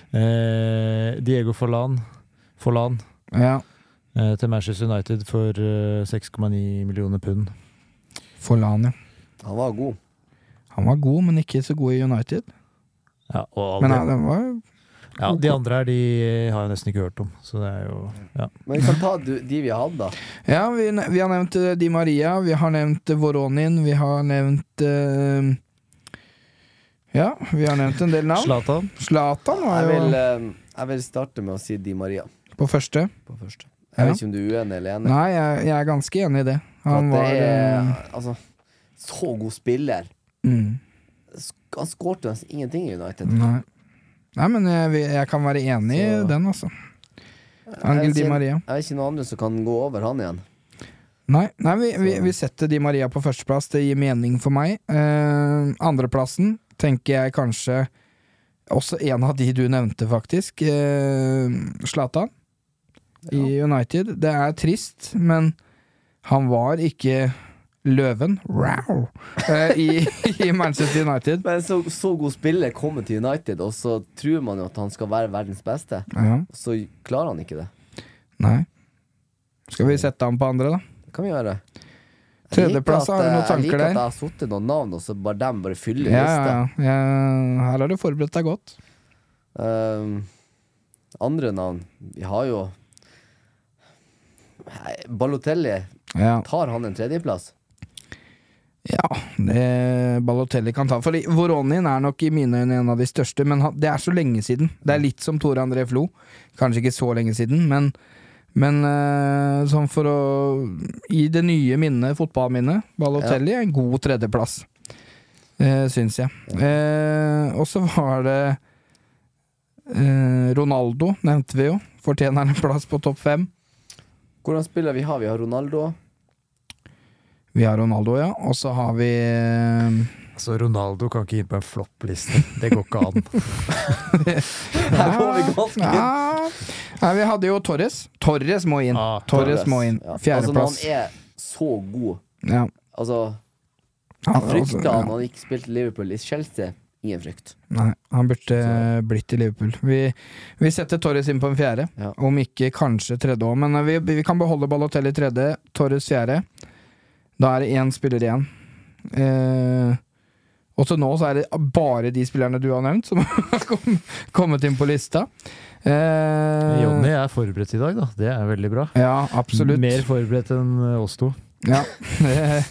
[SPEAKER 3] Eh, Diego Forlan, Forlan
[SPEAKER 1] ja.
[SPEAKER 3] eh, til Manchester United for eh, 6,9 millioner pund.
[SPEAKER 1] Forlan, ja.
[SPEAKER 2] Han var god.
[SPEAKER 1] Han var god, men ikke så god i United.
[SPEAKER 3] Ja, og alle,
[SPEAKER 1] Men ja, den var
[SPEAKER 3] ja, De andre her de eh, har jeg nesten ikke hørt om. Så det er jo ja.
[SPEAKER 2] Men vi kan ta du, de vi har hatt, da.
[SPEAKER 1] Ja, vi, vi har nevnt eh, Di Maria, vi har nevnt eh, Voronin, vi har nevnt eh, Ja, vi har nevnt en del navn.
[SPEAKER 3] Zlatan.
[SPEAKER 1] Zlatan var
[SPEAKER 2] Jeg
[SPEAKER 1] jo
[SPEAKER 2] vil, eh, jeg vil starte med å si Di Maria
[SPEAKER 1] på første.
[SPEAKER 2] på første.
[SPEAKER 1] Ja.
[SPEAKER 2] Jeg vet ikke om du er uenig eller enig.
[SPEAKER 1] Nei, jeg, jeg er ganske enig i det.
[SPEAKER 2] For
[SPEAKER 1] Han
[SPEAKER 2] at
[SPEAKER 1] var
[SPEAKER 2] det er,
[SPEAKER 1] eh,
[SPEAKER 2] altså, så god spiller.
[SPEAKER 1] mm,
[SPEAKER 2] Sk- Han skårte nesten ingenting i United.
[SPEAKER 1] Nei. Nei, men jeg, vil- jeg kan være enig i
[SPEAKER 2] Så-
[SPEAKER 1] den, altså.
[SPEAKER 2] Jeg
[SPEAKER 1] Angel
[SPEAKER 2] vet
[SPEAKER 1] Di
[SPEAKER 2] ikke-
[SPEAKER 1] Maria.
[SPEAKER 2] Jeg vet ikke noen andre som kan gå over han igjen.
[SPEAKER 1] Nei, nei vi, vi,
[SPEAKER 2] Så-
[SPEAKER 1] vi setter Di Maria på førsteplass, det gir mening for meg. Eh, andreplassen tenker jeg kanskje også en av de du nevnte, faktisk. Eh, Zlatan i United. Det er trist, men han var ikke løven wow, eh, i, i Manchester United.
[SPEAKER 2] Men så, så god spiller kommer til United, og så tror man jo at han skal være verdens beste.
[SPEAKER 1] Ja,
[SPEAKER 2] Og så klarer han ikke det.
[SPEAKER 1] nei. Skal vi sette han på andre, da?
[SPEAKER 2] Det kan vi gjøre.
[SPEAKER 1] Tredjeplass, har du noen
[SPEAKER 2] Jeg
[SPEAKER 1] tanker
[SPEAKER 2] liker at jeg
[SPEAKER 1] der?
[SPEAKER 2] har satt noen navn, og så bare dem bare fyller
[SPEAKER 1] Ja, ja,
[SPEAKER 2] lista.
[SPEAKER 1] ja. Jeg- Her har du forberedt deg godt.
[SPEAKER 2] Ehm, andre navn Vi har jo Nei, Balotelli.
[SPEAKER 1] Ja.
[SPEAKER 2] Tar han en tredjeplass?
[SPEAKER 1] Ja, det Balotelli kan ta. For Voronin er nok i mine øyne en av de største, men han, det er så lenge siden. Det er litt som Tore André Flo. Kanskje ikke så lenge siden, men, men eh, sånn for å I det nye minnet, fotballminnet, Balotelli er en god tredjeplass. Uh, Syns jeg. Eh, og så var det eh, Ronaldo, nevnte vi jo. Fortjener en plass på topp fem.
[SPEAKER 2] Hvordan spiller vi har? Vi har Ronaldo.
[SPEAKER 1] Vi har Ronaldo, ja. Og så har vi eh,
[SPEAKER 3] Altså, Ronaldo kan ikke inn på en floppliste. Det går ikke an.
[SPEAKER 2] Her går vi ganske inn.
[SPEAKER 1] Ja. Nei, vi hadde jo Torres. Torres må inn.
[SPEAKER 3] Ah,
[SPEAKER 1] Torres må inn.
[SPEAKER 2] Ja. Altså, når
[SPEAKER 1] Fjerdeplass.
[SPEAKER 2] han er så god
[SPEAKER 1] Ja.
[SPEAKER 2] Altså,
[SPEAKER 1] Han,
[SPEAKER 2] frykta
[SPEAKER 1] altså,
[SPEAKER 2] han han ikke spilte Liverpool i Chelsea? Ingen frykt.
[SPEAKER 1] Nei, han burde
[SPEAKER 2] Så-
[SPEAKER 1] blitt i Liverpool. Vi, vi setter Torres inn på en fjerde,
[SPEAKER 2] Ja.
[SPEAKER 1] om ikke kanskje tredje òg. Men eh, vi, vi kan beholde Balotelli tredje, Torres fjerde. Da er det én spiller igjen. Eh, og til nå så er det bare de spillerne du har nevnt, som har kom- kommet inn på lista. Eh,
[SPEAKER 3] Jonny er forberedt i dag, da. Det er veldig bra.
[SPEAKER 1] Ja, absolutt.
[SPEAKER 3] Mer forberedt enn eh, oss to.
[SPEAKER 1] Ja. eh,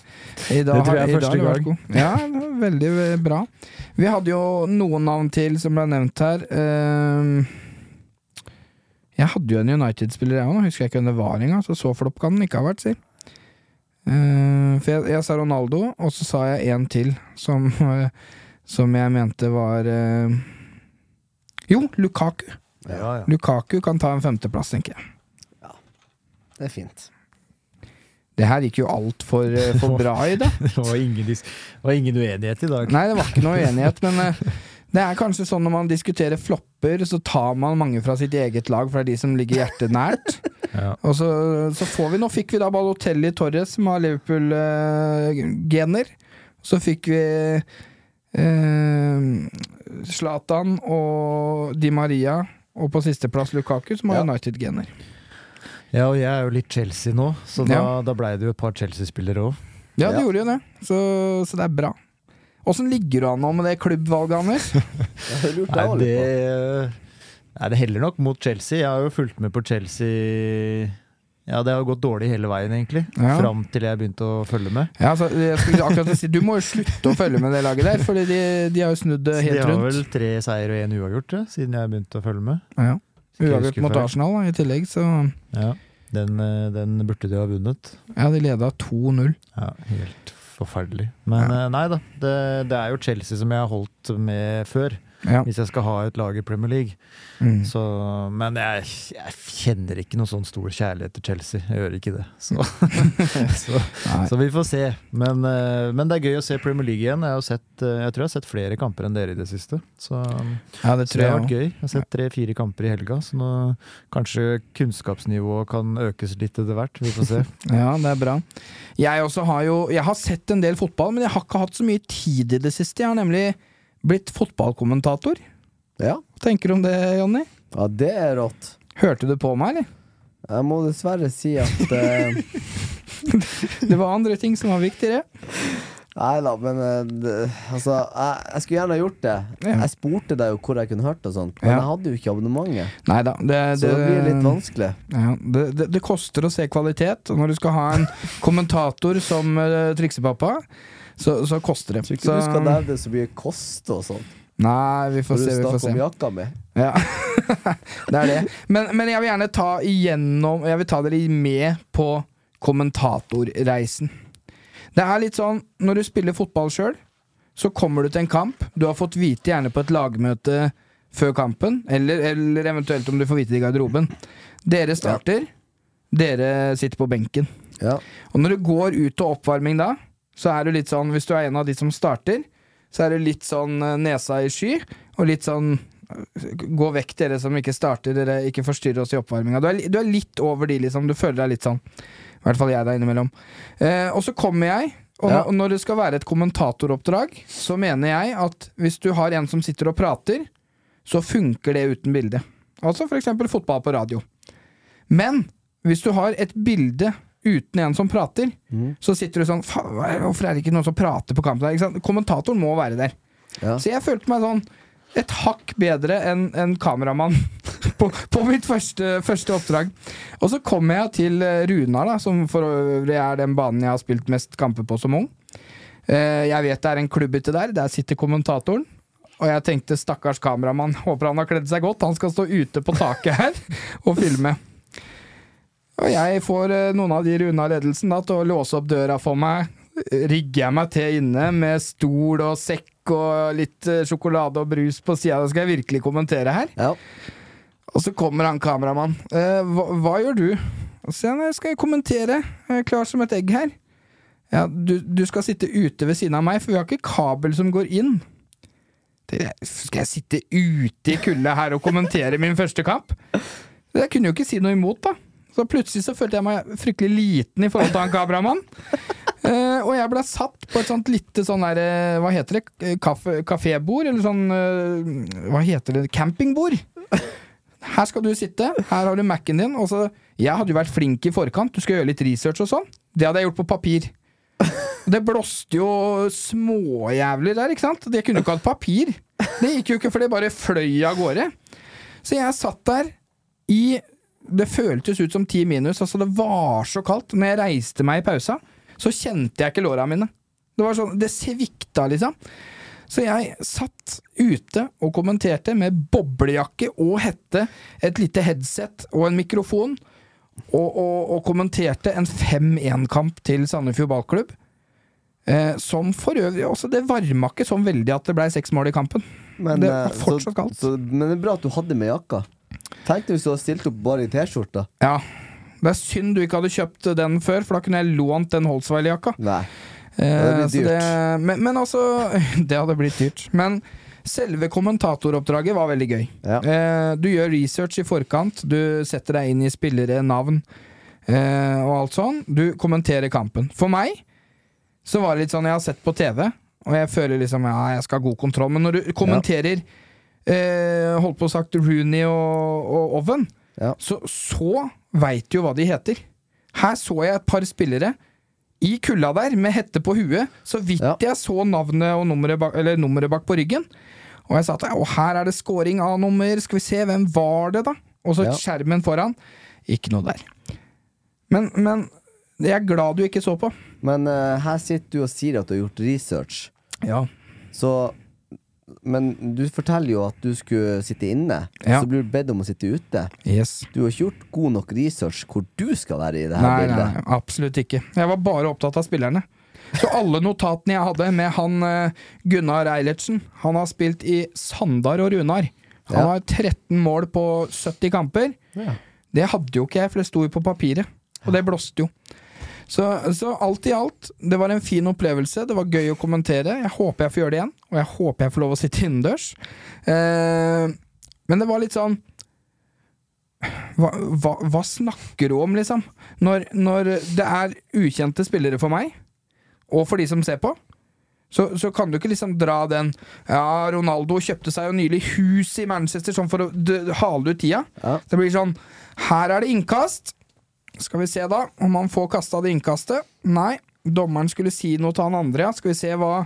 [SPEAKER 1] I dag,
[SPEAKER 3] Det tror jeg er
[SPEAKER 1] har- i dag
[SPEAKER 3] første
[SPEAKER 1] har det vært
[SPEAKER 3] gang.
[SPEAKER 1] god. Ja, veldig eh, bra. Vi hadde jo noen navn til som ble nevnt her. Ehm, jeg hadde jo en United-spiller, jeg òg. Nå husker jeg ikke hvem det var engang. Så så flopp kan den ikke ha vært, si. Eh, for jeg, jeg sa Ronaldo, og så sa jeg en til som, eh, som jeg mente var eh, Jo, Lukaku.
[SPEAKER 2] Ja,
[SPEAKER 1] Lukaku kan ta en femteplass, tenker jeg.
[SPEAKER 2] Det er fint.
[SPEAKER 1] Det her gikk jo altfor for bra i dag.
[SPEAKER 3] Det var ingen, dis- det var ingen uenighet i dag.
[SPEAKER 1] Nei, det var ikke noe uenighet, men eh, Det er kanskje sånn når man diskuterer flopper, så tar man mange fra sitt eget lag, fra de som ligger hjertet nært.
[SPEAKER 3] Ja.
[SPEAKER 1] Og så, så får vi, nå fikk vi da Balotelli Torres, som har Liverpool-gener. så fikk vi eh, Zlatan og Di Maria, og på sisteplass Lukaku, som har
[SPEAKER 2] Ja.
[SPEAKER 1] United-gener.
[SPEAKER 3] ja, og jeg er jo litt Chelsea nå, så da,
[SPEAKER 1] Ja.
[SPEAKER 3] da blei det jo et par Chelsea-spillere òg.
[SPEAKER 1] Ja, det
[SPEAKER 2] Ja.
[SPEAKER 1] gjorde jo det, så, så det er bra. Åssen ligger du an nå med det klubbvalget, Anders?
[SPEAKER 2] Jeg har lurt
[SPEAKER 3] Nei,
[SPEAKER 2] deg også
[SPEAKER 3] det,
[SPEAKER 2] litt på.
[SPEAKER 3] nei, det heller nok mot Chelsea. Jeg har jo fulgt med på Chelsea Ja, det har gått dårlig hele veien, egentlig.
[SPEAKER 1] Ja.
[SPEAKER 3] Fram til jeg begynte å følge med.
[SPEAKER 1] Ja, altså, jeg skulle akkurat si, du må jo slutte å følge med det laget der, for de, de har jo snudd det
[SPEAKER 3] Så de
[SPEAKER 1] helt
[SPEAKER 3] har
[SPEAKER 1] rundt.
[SPEAKER 3] vel tre seier og én uavgjort, tror jeg, siden jeg begynte å følge med.
[SPEAKER 1] Ja.
[SPEAKER 3] Skal jeg
[SPEAKER 1] Uavgjort
[SPEAKER 3] huske
[SPEAKER 1] mot
[SPEAKER 3] feil?
[SPEAKER 1] Arsenal da, i tillegg, så
[SPEAKER 3] Ja, den, eh, den burde de ha vunnet.
[SPEAKER 1] ja, de leda 2-0.
[SPEAKER 3] Ja, helt forferdelig. Men eh, nei da, det, det er jo Chelsea som jeg har holdt med før,
[SPEAKER 1] Ja.
[SPEAKER 3] hvis jeg skal ha et lag i Premier League.
[SPEAKER 1] Mm.
[SPEAKER 3] Så, men jeg, jeg kjenner ikke noen sånn stor kjærlighet til Chelsea. Jeg gjør ikke det. Så, så,
[SPEAKER 1] Nei.
[SPEAKER 3] så vi får se. Men, eh, men det er gøy å se Premier League igjen. Jeg, har sett, eh, jeg tror jeg har sett flere kamper enn dere i det siste. Så,
[SPEAKER 1] Ja, det
[SPEAKER 3] så
[SPEAKER 1] tror
[SPEAKER 3] det
[SPEAKER 1] jeg
[SPEAKER 3] har
[SPEAKER 1] også.
[SPEAKER 3] vært gøy. Jeg har sett tre-fire kamper i helga, så nå, kanskje kunnskapsnivået kan økes litt etter hvert. Vi får se.
[SPEAKER 1] Ja, det er bra. Jeg også har jo Jeg har sett en del fotball, men jeg har ikke hatt så mye tid i det siste. Jeg har nemlig blitt fotballkommentator.
[SPEAKER 2] Ja.
[SPEAKER 1] Hva tenker du om det, Jonny?
[SPEAKER 2] ja, det er rått.
[SPEAKER 1] Hørte du på meg, eller?
[SPEAKER 2] Jeg må dessverre si at eh,
[SPEAKER 1] Det var andre ting som var viktigere.
[SPEAKER 2] Nei da, men eh, det, altså jeg, jeg skulle gjerne ha gjort det.
[SPEAKER 1] Ja.
[SPEAKER 2] Jeg spurte deg jo hvor jeg kunne hørt og sånt, men
[SPEAKER 1] Ja.
[SPEAKER 2] jeg hadde jo ikke abonnementet.
[SPEAKER 1] Nei da. Det,
[SPEAKER 2] Så det, blir litt vanskelig.
[SPEAKER 1] Ja, det, det, det koster å se kvalitet, og når du skal ha en kommentator som eh, triksepappa, så, så koster det.
[SPEAKER 2] Tror ikke
[SPEAKER 1] Så,
[SPEAKER 2] du skal nevne så mye kost og sånt.
[SPEAKER 1] nei, vi får
[SPEAKER 2] Når du
[SPEAKER 1] se, vi får
[SPEAKER 2] snakker
[SPEAKER 1] se.
[SPEAKER 2] om jakka mi.
[SPEAKER 1] Ja, det er det. Men, men jeg vil gjerne ta igjennom Jeg vil ta dere med på kommentatorreisen. Det er litt sånn når du spiller fotball sjøl, så kommer du til en kamp. Du har fått vite gjerne på et lagmøte før kampen, eller, eller eventuelt om du får vite det i garderoben. Dere starter, dere sitter på benken.
[SPEAKER 2] Ja.
[SPEAKER 1] Og når du går ut til oppvarming da, så er du litt sånn Hvis du er en av de som starter, så er du litt sånn eh, nesa i sky, og litt sånn eh, Gå vekk, dere som ikke starter, dere ikke forstyrrer oss i oppvarminga. Du, er li- du er litt over de, liksom. Du føler deg litt sånn. I hvert fall jeg der innimellom. Eh, og så kommer jeg, og,
[SPEAKER 2] Ja.
[SPEAKER 1] og når det skal være et kommentatoroppdrag, så mener jeg at hvis du har en som sitter og prater, så funker det uten bilde. Altså for eksempel fotball på radio. Men hvis du har et bilde uten en som prater,
[SPEAKER 2] Mhm.
[SPEAKER 1] så sitter du sånn "Faen, hva er- Hvorfor er det ikke noen som prater på kampen? her?" Ikke sant? Kommentatoren må være der.
[SPEAKER 2] Ja.
[SPEAKER 1] Så jeg følte meg sånn et hakk bedre enn en kameramann på, på mitt første, første oppdrag. Og så kommer jeg til eh, Runar, da, som for øvrig er den banen jeg har spilt mest kamper på som ung. Eh, Jeg vet det er en klubb ute der. Der sitter kommentatoren. Og jeg tenkte stakkars kameramann, håper han har kledd seg godt. Han skal stå ute på taket her og filme. Og jeg får eh, noen av de runda ledelsen da, til å låse opp døra for meg. Rigger jeg meg til inne med stol og sekk og litt eh, sjokolade og brus på sida. Skal jeg virkelig kommentere her?
[SPEAKER 2] ja.
[SPEAKER 1] Og så kommer han kameramannen. Eh, hva, hva gjør du? Og så sier han, jeg skal kommentere. Jeg er klar som et egg her. Ja, du, du skal sitte ute ved siden av meg, for vi har ikke kabel som går inn. Det er- Skal jeg sitte ute i kulda her og kommentere min første kamp? Jeg kunne jo ikke si noe imot, da. Så plutselig så følte jeg meg fryktelig liten i forhold til han kameramannen. Eh, og jeg ble satt på et sånt lite sånn der, eh, hva heter det, Eh, kaffe, kafébord? Eller sånn, eh, hva heter det, campingbord? Her skal du sitte, her har du Mac-en din. Og så, jeg hadde jo vært flink i forkant, du skal gjøre litt research og sånn. Det hadde jeg gjort på papir. Og Det blåste jo småjævler der, ikke sant? Det kunne jo ikke hatt papir. Det gikk jo ikke, for det bare fløy av gårde. Så jeg satt der i Det føltes ut som ti minus. Altså, det var så kaldt. Når jeg reiste meg i pausa, så kjente jeg ikke låra mine. Det var sånn, det svikta, liksom. Så jeg satt ute og kommenterte med boblejakke og hette, et lite headset og en mikrofon, og, og, og kommenterte en 5-1-kamp til Sandefjord ballklubb. Eh, som for øvrig også Det varma ikke sånn veldig at det ble seks mål i kampen.
[SPEAKER 2] Men,
[SPEAKER 1] Det var
[SPEAKER 2] eh,
[SPEAKER 1] fortsatt kaldt.
[SPEAKER 2] Så, så, men det er bra at du hadde med jakka. Tenk deg hvis du hadde stilt opp bare i T-skjorta.
[SPEAKER 1] Ja, Det er synd du ikke hadde kjøpt den før, for da kunne jeg lånt den Holsweiler-jakka.
[SPEAKER 2] Nei.
[SPEAKER 1] Eh,
[SPEAKER 2] Ja, det blir
[SPEAKER 1] så
[SPEAKER 2] dyrt.
[SPEAKER 1] men, men altså Det hadde blitt dyrt. Men Selve kommentatoroppdraget var veldig gøy.
[SPEAKER 2] Ja.
[SPEAKER 1] Eh, du gjør research i forkant, du setter deg inn i spillere, navn eh, og alt sånn. Du kommenterer kampen. For meg så var det litt sånn jeg har sett på TV, og jeg føler liksom ja, jeg skal ha god kontroll. Men når du kommenterer eh, holdt på å sagt Rooney og, og Oven,
[SPEAKER 2] Ja.
[SPEAKER 1] så, så veit du jo hva de heter. Her så jeg et par spillere i kulda der, med hette på huet, så vidt
[SPEAKER 2] Ja.
[SPEAKER 1] jeg så navnet og nummeret bak, eller nummeret bak på ryggen. Og jeg sa at å, her er det scoring av nummer, skal vi se, hvem var det, da? Og så
[SPEAKER 2] Ja.
[SPEAKER 1] skjermen foran. Ikke noe der. Men, men jeg er glad du ikke så på.
[SPEAKER 2] Men eh, her sitter du og sier at du har gjort research.
[SPEAKER 1] Ja.
[SPEAKER 2] Så Men du forteller jo at du skulle sitte inne,
[SPEAKER 1] Ja.
[SPEAKER 2] så blir du bedt om å sitte ute.
[SPEAKER 1] Yes.
[SPEAKER 2] Du har ikke gjort god nok research hvor du skal være i det her
[SPEAKER 1] Nei, nei,
[SPEAKER 2] bildet.
[SPEAKER 1] nei, absolutt ikke. Jeg var bare opptatt av spillerne. Så alle notatene jeg hadde med han eh, Gunnar Eilertsen Han har spilt i Sandar og Runar. Han
[SPEAKER 2] Ja.
[SPEAKER 1] har 13 mål på 70 kamper.
[SPEAKER 2] Ja.
[SPEAKER 1] Det hadde jo ikke jeg, for det sto jo på papiret. Og det blåste jo. Så, så alt i alt, det var en fin opplevelse. Det var gøy å kommentere. Jeg håper jeg får gjøre det igjen, og jeg håper jeg får lov å sitte innendørs. Eh, men det var litt sånn hva, hva, hva snakker du om, liksom? Når, når det er ukjente spillere for meg, og for de som ser på, så, så kan du ikke liksom dra den Ja, Ronaldo kjøpte seg jo nylig hus i Manchester, sånn for å d hale ut tida.
[SPEAKER 2] Ja.
[SPEAKER 1] Det blir sånn Her er det innkast. Skal vi se, da, om han får kasta det innkastet. Nei. Dommeren skulle si noe til han andre, ja. Skal vi se hva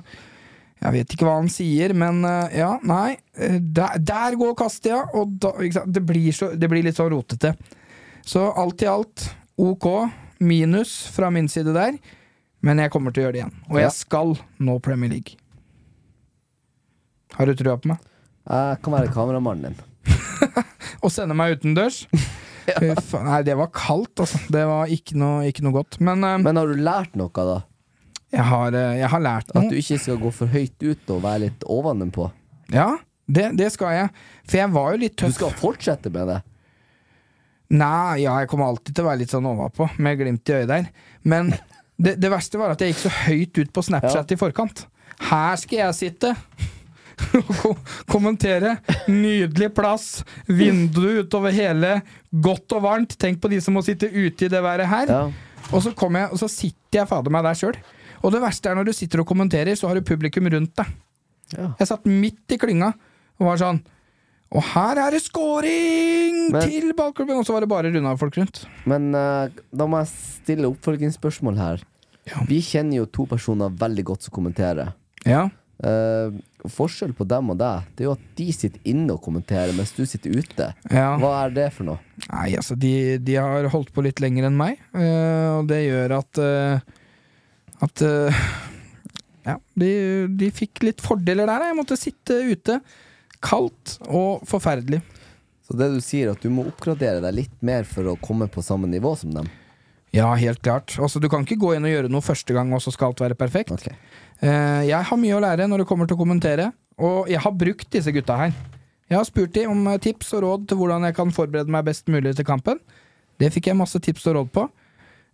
[SPEAKER 1] Jeg vet ikke hva han sier, men eh, ja, nei. Eh, Der, der går kastet, ja. Og da, ikke sant? Det, blir så, det blir litt sånn rotete. Så alt i alt OK. Minus fra min side der. Men jeg kommer til å gjøre det igjen. Og
[SPEAKER 2] Ja.
[SPEAKER 1] jeg skal nå Premier League. Har du trua på meg?
[SPEAKER 2] Jeg kan være kameramannen din.
[SPEAKER 1] og sende meg utendørs. Fy faen, Nei, det var kaldt, altså. Det var ikke noe, ikke noe godt. Men, eh,
[SPEAKER 2] Men har du lært noe, da?
[SPEAKER 1] jeg, har, eh, jeg har lært
[SPEAKER 2] At du
[SPEAKER 1] noe.
[SPEAKER 2] ikke skal gå for høyt ut og være litt ovenpå?
[SPEAKER 1] Ja, det, det skal jeg. For jeg var jo litt
[SPEAKER 2] Du
[SPEAKER 1] tøff.
[SPEAKER 2] skal fortsette med det?
[SPEAKER 1] Nei, ja, jeg kommer alltid til å være litt sånn ovenpå, med glimt i øyet der. Men det, det verste var at jeg gikk så høyt ut på Snapchat i forkant. Her skal jeg sitte! Og ko- kommentere. Nydelig plass. Vindu utover hele. Godt og varmt. Tenk på de som må sitte ute i det været her.
[SPEAKER 2] Ja.
[SPEAKER 1] Og så, kommer jeg, og så sitter jeg fader meg der sjøl. Og det verste er når du sitter og kommenterer, så har du publikum rundt deg.
[SPEAKER 2] Ja.
[SPEAKER 1] Jeg satt midt i klynga og var sånn Og her er det scoring
[SPEAKER 2] Men-
[SPEAKER 1] til ballklubben! Og så var det bare runda folk rundt.
[SPEAKER 2] Men eh, da må jeg stille oppfølgingsspørsmål her.
[SPEAKER 1] Ja.
[SPEAKER 2] Vi kjenner jo to personer veldig godt som kommenterer.
[SPEAKER 1] Ja.
[SPEAKER 2] Eh, forskjell på dem og deg, det er jo at de sitter inne og kommenterer, mens du sitter ute.
[SPEAKER 1] ja.
[SPEAKER 2] Hva er det for noe?
[SPEAKER 1] Nei, altså, de, de har holdt på litt lenger enn meg, eh, og det gjør at eh, At eh, Ja, de, de fikk litt fordeler der. da. Jeg måtte sitte ute. Kaldt og forferdelig.
[SPEAKER 2] Så det du sier, at du må oppgradere deg litt mer for å komme på samme nivå som dem?
[SPEAKER 1] Ja, helt klart. Altså, du kan ikke gå inn og gjøre noe første gang, og så skal alt være perfekt.
[SPEAKER 2] Ok.
[SPEAKER 1] Eh, jeg har mye å lære når det kommer til å kommentere, og jeg har brukt disse gutta her. Jeg har spurt dem om eh, tips og råd til hvordan jeg kan forberede meg best mulig til kampen. Det fikk jeg masse tips og råd på,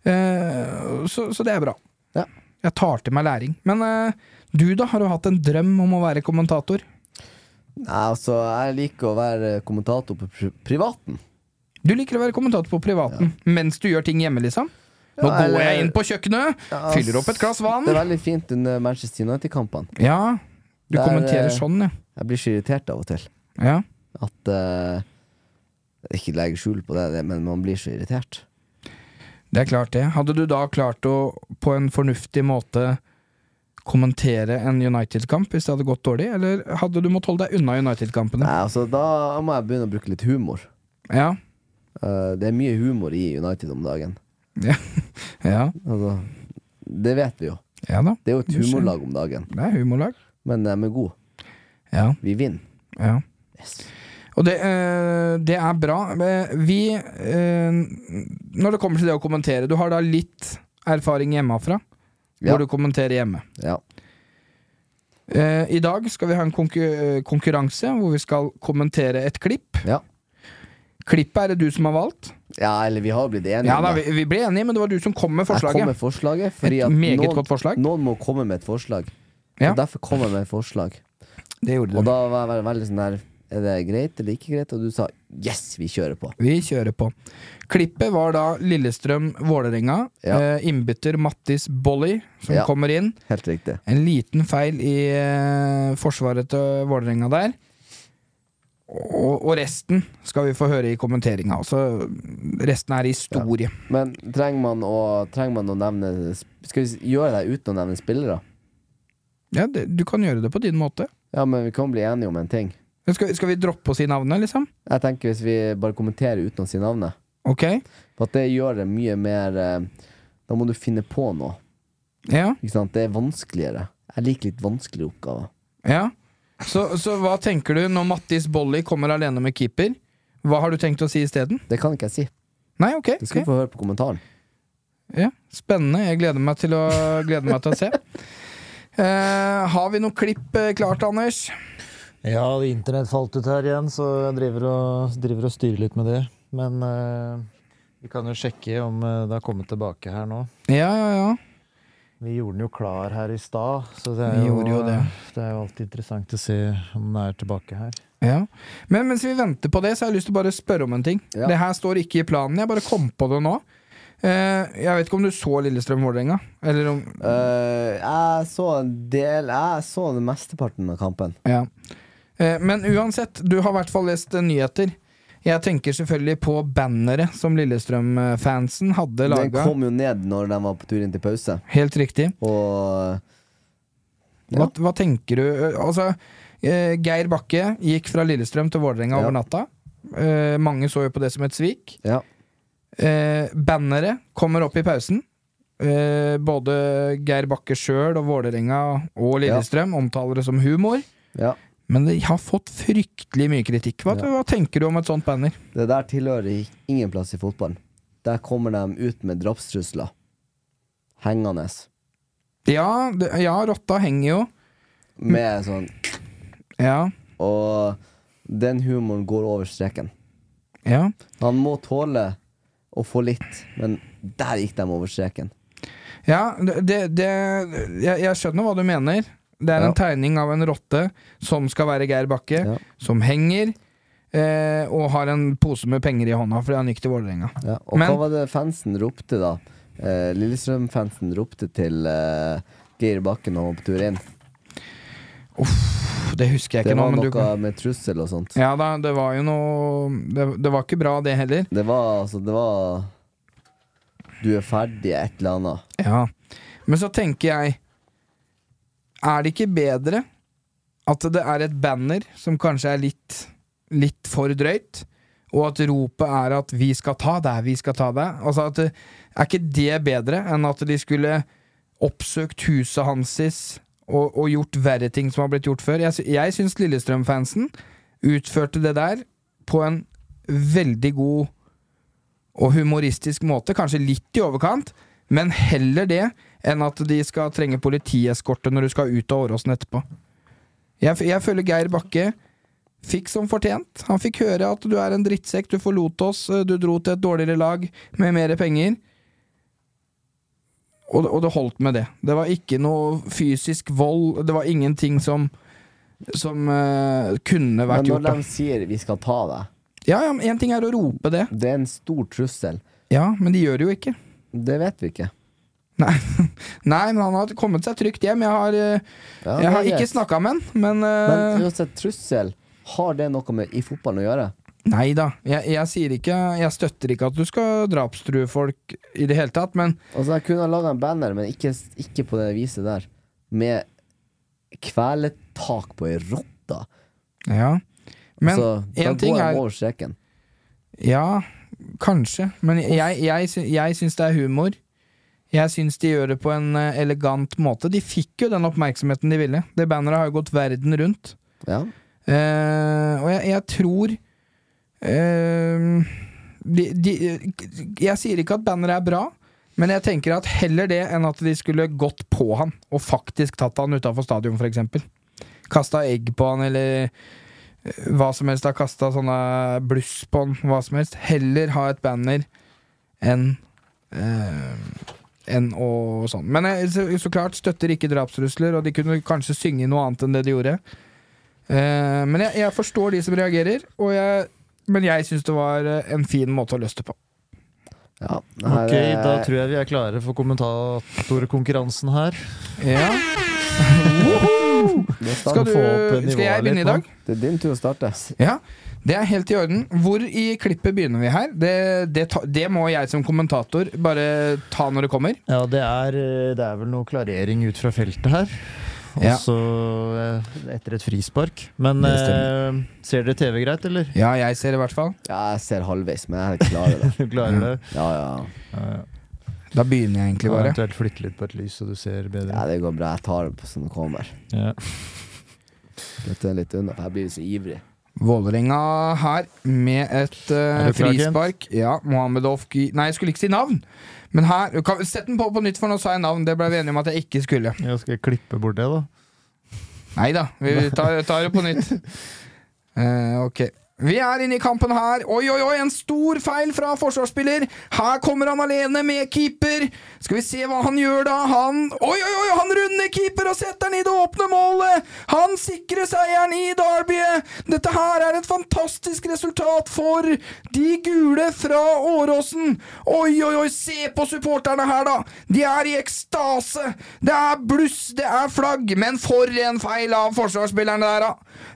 [SPEAKER 1] Eh, så, så det er bra.
[SPEAKER 2] Ja.
[SPEAKER 1] Jeg tar til meg læring. Men eh, du, da? Har du hatt en drøm om å være kommentator?
[SPEAKER 2] Nei, altså, jeg liker å være kommentator på pri privaten.
[SPEAKER 1] Du liker å være kommentator på privaten mens du gjør ting hjemme, liksom? Nå
[SPEAKER 2] Ja,
[SPEAKER 1] går
[SPEAKER 2] eller-
[SPEAKER 1] jeg inn på kjøkkenet,
[SPEAKER 2] Ja,
[SPEAKER 1] fyller opp et glass vann.
[SPEAKER 2] Det er veldig fint under Manchester United-kampene.
[SPEAKER 1] Ja, du
[SPEAKER 2] Det er,
[SPEAKER 1] kommenterer
[SPEAKER 2] eh,
[SPEAKER 1] sånn, ja.
[SPEAKER 2] Jeg blir så irritert av og til.
[SPEAKER 1] ja.
[SPEAKER 2] At eh, Ikke legger skjul på det, det, men man blir så irritert.
[SPEAKER 1] Det er klart det. Hadde du da klart å på en fornuftig måte kommentere en United-kamp hvis det hadde gått dårlig, eller hadde du måttet holde deg unna United-kampene?
[SPEAKER 2] Nei, altså, da må jeg begynne å bruke litt humor.
[SPEAKER 1] Ja.
[SPEAKER 2] Eh, det er mye humor i United om dagen.
[SPEAKER 1] ja.
[SPEAKER 2] Altså, det vet vi jo.
[SPEAKER 1] Ja da.
[SPEAKER 2] Det er jo et
[SPEAKER 1] Det skjer.
[SPEAKER 2] humorlag om dagen,
[SPEAKER 1] Det er humorlag.
[SPEAKER 2] men de er gode.
[SPEAKER 1] Ja.
[SPEAKER 2] Vi vinner.
[SPEAKER 1] ja.
[SPEAKER 2] Yes.
[SPEAKER 1] Og det, eh, det er bra. Eh, Vi eh, Når det kommer til det å kommentere, du har da litt erfaring hjemmefra,
[SPEAKER 2] Ja.
[SPEAKER 1] hvor du kommenterer hjemme.
[SPEAKER 2] Ja.
[SPEAKER 1] Eh, I dag skal vi ha en konkur konkurranse hvor vi skal kommentere et klipp.
[SPEAKER 2] ja.
[SPEAKER 1] Klippet er det du som har valgt.
[SPEAKER 2] Ja, eller vi har blitt enige.
[SPEAKER 1] Ja, da,
[SPEAKER 2] om det.
[SPEAKER 1] vi, vi ble enige, men det var du som kom med
[SPEAKER 2] Jeg kom
[SPEAKER 1] forslaget.
[SPEAKER 2] med forslaget fordi
[SPEAKER 1] Et
[SPEAKER 2] at
[SPEAKER 1] meget
[SPEAKER 2] noen,
[SPEAKER 1] godt forslag.
[SPEAKER 2] noen må komme med et forslag.
[SPEAKER 1] Ja.
[SPEAKER 2] Og derfor kommer jeg med et forslag.
[SPEAKER 1] Det gjorde du.
[SPEAKER 2] Og da var jeg veldig, veldig sånn der Er det greit eller ikke greit? Og du sa yes, vi kjører på.
[SPEAKER 1] Vi kjører på. Klippet var da Lillestrøm-Vålerenga.
[SPEAKER 2] Ja.
[SPEAKER 1] Eh, innbytter Mattis Bolly som
[SPEAKER 2] Ja.
[SPEAKER 1] kommer inn.
[SPEAKER 2] Helt riktig.
[SPEAKER 1] En liten feil i eh, forsvaret til Vålerenga der. Og, og resten skal vi få høre i kommenteringa. Altså, resten er historie.
[SPEAKER 2] Men trenger man å, trenger man å nevne Skal vi s- gjøre det uten å nevne spillere?
[SPEAKER 1] Ja, det, du kan gjøre det på din måte.
[SPEAKER 2] Ja, men vi kan bli enige om en ting.
[SPEAKER 1] Men Skal, skal vi droppe å si navnet, liksom?
[SPEAKER 2] Jeg tenker Hvis vi bare kommenterer uten å si navnet
[SPEAKER 1] Ok?
[SPEAKER 2] For at det gjør det mye mer eh, Da må du finne på noe.
[SPEAKER 1] Ja.
[SPEAKER 2] Ikke sant? Det er vanskeligere. Jeg liker litt vanskeligere oppgaver.
[SPEAKER 1] ja. Så, så hva tenker du når Mattis Bolly kommer alene med keeper? Hva har du tenkt å si isteden?
[SPEAKER 2] Det kan ikke jeg si.
[SPEAKER 1] Nei, ok.
[SPEAKER 2] Det skal
[SPEAKER 1] ok.
[SPEAKER 2] du få høre på kommentaren.
[SPEAKER 1] Ja, spennende. Jeg gleder meg til å, gleder meg til å se. Eh, har vi noe klipp eh, klart, Anders?
[SPEAKER 3] Ja, internett falt ut her igjen, så jeg driver og, driver og styrer litt med det. Men eh, vi kan jo sjekke om eh, det har kommet tilbake her nå.
[SPEAKER 1] Ja, ja, ja.
[SPEAKER 3] Vi gjorde den jo klar her i stad, så det
[SPEAKER 1] Vi
[SPEAKER 3] er, jo, eh,
[SPEAKER 1] gjorde jo det.
[SPEAKER 3] det er jo alltid interessant å se om den er tilbake her.
[SPEAKER 1] Ja. Men mens vi venter på det, så har jeg lyst til å bare spørre om en ting.
[SPEAKER 2] Ja.
[SPEAKER 1] Det her står ikke i planen, jeg bare kom på det nå. Eh, jeg vet ikke om du så Lillestrøm-Vålerenga? Eller om
[SPEAKER 2] Eh, jeg så en del Jeg så den mesteparten av kampen.
[SPEAKER 1] Ja. Eh, men uansett, du har i hvert fall lest eh, nyheter. Jeg tenker selvfølgelig på banneret som Lillestrøm-fansen hadde
[SPEAKER 2] Den
[SPEAKER 1] laga.
[SPEAKER 2] kom jo ned når de var på tur inn til pause.
[SPEAKER 1] Helt riktig.
[SPEAKER 2] Og
[SPEAKER 1] Hva, hva tenker du Eh, Altså, eh, Geir Bakke gikk fra Lillestrøm til Vålerenga
[SPEAKER 2] Ja.
[SPEAKER 1] over natta. Eh, mange så jo på det som et svik.
[SPEAKER 2] ja,
[SPEAKER 1] Eh, banneret kommer opp i pausen. Eh, både Geir Bakke sjøl og Vålerenga og Lillestrøm omtaler det som humor.
[SPEAKER 2] ja.
[SPEAKER 1] Men det har fått fryktelig mye kritikk. Hva, hva tenker du om et sånt banner?
[SPEAKER 2] Det der tilhører ingen plass i fotballen. Der kommer de ut med drapstrusler. Hengende.
[SPEAKER 1] Ja, det, ja rotta henger jo.
[SPEAKER 2] Med sånn
[SPEAKER 1] Ja,
[SPEAKER 2] Og den humoren går over streken.
[SPEAKER 1] ja.
[SPEAKER 2] Han må tåle å få litt, men der gikk de over streken.
[SPEAKER 1] ja det, det, jeg, jeg skjønner hva du mener. Det er
[SPEAKER 2] Ja.
[SPEAKER 1] en tegning av en rotte som skal være Geir Bakke,
[SPEAKER 2] Ja.
[SPEAKER 1] som henger eh, og har en pose med penger i hånda fordi han gikk til Vålerenga.
[SPEAKER 2] Ja, og
[SPEAKER 1] Men-
[SPEAKER 2] hva var det fansen ropte da? Eh, Lillestrøm-fansen ropte til eh, Geir Bakken når han var på tur inn.
[SPEAKER 1] Pff, Det husker jeg
[SPEAKER 2] Det
[SPEAKER 1] ikke nå,
[SPEAKER 2] var
[SPEAKER 1] men
[SPEAKER 2] noe
[SPEAKER 1] du kan
[SPEAKER 2] med trussel og sånt.
[SPEAKER 1] Ja da, det var jo noe Det, det var ikke bra, det heller.
[SPEAKER 2] Det var altså Det var Du er ferdig, et eller annet.
[SPEAKER 1] Ja. Men så tenker jeg Er det ikke bedre at det er et banner som kanskje er litt, litt for drøyt, og at ropet er at 'vi skal ta deg, vi skal ta deg'? Altså at det- Er ikke det bedre enn at de skulle oppsøkt huset hansis og, og gjort verre ting som har blitt gjort før? Jeg, sy- jeg syns Lillestrøm-fansen utførte det der på en veldig god og humoristisk måte, kanskje litt i overkant, men heller det enn at de skal trenge politieskorte når du skal ut av Åråsen etterpå. Jeg, f- jeg føler Geir Bakke fikk som fortjent. Han fikk høre at du er en drittsekk, du forlot oss, eh, du dro til et dårligere lag med mer penger. Og, og det holdt med det. Det var ikke noe fysisk vold, det var ingenting som som eh, kunne
[SPEAKER 2] Men
[SPEAKER 1] vært
[SPEAKER 2] når
[SPEAKER 1] gjort. da.
[SPEAKER 2] de sier 'vi skal ta deg',
[SPEAKER 1] Ja, ja, men Én ting er å rope det,
[SPEAKER 2] det er en stor trussel.
[SPEAKER 1] ja, men de gjør det jo ikke.
[SPEAKER 2] Det vet vi ikke.
[SPEAKER 1] Nei. Nei, men han har kommet seg trygt hjem. Jeg har, eh,
[SPEAKER 2] Ja, det
[SPEAKER 1] jeg har
[SPEAKER 2] er
[SPEAKER 1] ikke
[SPEAKER 2] greit.
[SPEAKER 1] snakka med han, men, eh,
[SPEAKER 2] Men uansett, trussel, har det noe med i fotballen å gjøre?
[SPEAKER 1] Nei da. Jeg, jeg sier ikke Jeg støtter ikke at du skal drapstrue folk i det hele tatt, men
[SPEAKER 2] Altså, jeg kunne ha laga en banner, men ikke, ikke på det viset der. Med kveletak på ei rotte.
[SPEAKER 1] Ja. Men
[SPEAKER 2] altså, da
[SPEAKER 1] en ting
[SPEAKER 2] går de
[SPEAKER 1] er
[SPEAKER 2] over streken.
[SPEAKER 1] Ja, kanskje. Men jeg, jeg, sy- jeg syns det er humor. Jeg syns de gjør det på en eh, elegant måte. De fikk jo den oppmerksomheten de ville. Det banneret har jo gått verden rundt.
[SPEAKER 2] Ja.
[SPEAKER 1] Eh, og jeg, jeg tror eh, de, de, Jeg sier ikke at banneret er bra, men jeg tenker at heller det enn at de skulle gått på han og faktisk tatt han utafor stadion, f.eks. Kasta egg på han, eller eh, hva som helst. Har kasta sånne bluss på han, hva som helst. Heller ha et banner enn eh, enn å sånn. Men jeg så, så klart støtter ikke drapstrusler, og de kunne kanskje synge noe annet enn det de gjorde. Eh, men jeg, jeg forstår de som reagerer, og jeg, men jeg syns det var eh, en fin måte å løse det på.
[SPEAKER 2] Ja, det her
[SPEAKER 3] Ok,
[SPEAKER 2] er-
[SPEAKER 3] da tror jeg vi er klare for kommentatorkonkurransen her.
[SPEAKER 1] Ja.
[SPEAKER 2] det starter
[SPEAKER 1] Skal, du,
[SPEAKER 3] få opp nivået
[SPEAKER 1] skal jeg begynne
[SPEAKER 3] litt
[SPEAKER 1] i dag?
[SPEAKER 2] Det er din tur å starte.
[SPEAKER 1] Ja, det er helt i orden. Hvor i klippet begynner vi her? Det, det, ta, det må jeg som kommentator bare ta når det kommer.
[SPEAKER 3] Ja, det er, eh, det er vel noe klarering ut fra feltet her. Og
[SPEAKER 1] Ja.
[SPEAKER 3] så eh, etter et frispark. Men
[SPEAKER 1] Det
[SPEAKER 3] eh, ser dere TV greit, eller?
[SPEAKER 1] Ja, jeg ser det i hvert fall.
[SPEAKER 2] Ja, jeg ser halvveis, men jeg klarer det.
[SPEAKER 3] Klarer det?
[SPEAKER 2] Ja, ja.
[SPEAKER 3] Mm. Ja, ja.
[SPEAKER 1] Da begynner jeg egentlig
[SPEAKER 3] Ja,
[SPEAKER 1] bare.
[SPEAKER 3] Eventuelt flytte litt på et lys, så du ser
[SPEAKER 2] ja
[SPEAKER 3] bedre.
[SPEAKER 2] det går bra. Jeg tar det på som det kommer.
[SPEAKER 3] Ja.
[SPEAKER 2] Dette er litt unna, for jeg blir så ivrig.
[SPEAKER 1] Vålerenga her med et eh,
[SPEAKER 3] Er du klar, Kent?
[SPEAKER 1] frispark. Ja, Mohammed Ofki Nei, jeg skulle ikke si navn! Men her kan, Sett den på på nytt, for nå sa jeg navn. Det ble vi enige om at jeg ikke skulle.
[SPEAKER 3] Ja, skal jeg klippe bort det, da?
[SPEAKER 1] Nei da, vi tar, tar det på nytt. Eh, ok. Vi er inne i kampen her. Oi, oi, oi, en stor feil fra forsvarsspiller! Her kommer han alene med keeper! Skal vi se hva han gjør da? Han Oi, oi, oi, han runder keeper og setter den i det åpne målet! Han sikrer seieren i derbyet! Dette her er et fantastisk resultat for de gule fra Åråsen! Oi, oi, oi, se på supporterne her, da! De er i ekstase! Det er bluss, det er flagg, men for en feil av forsvarsspilleren der, da!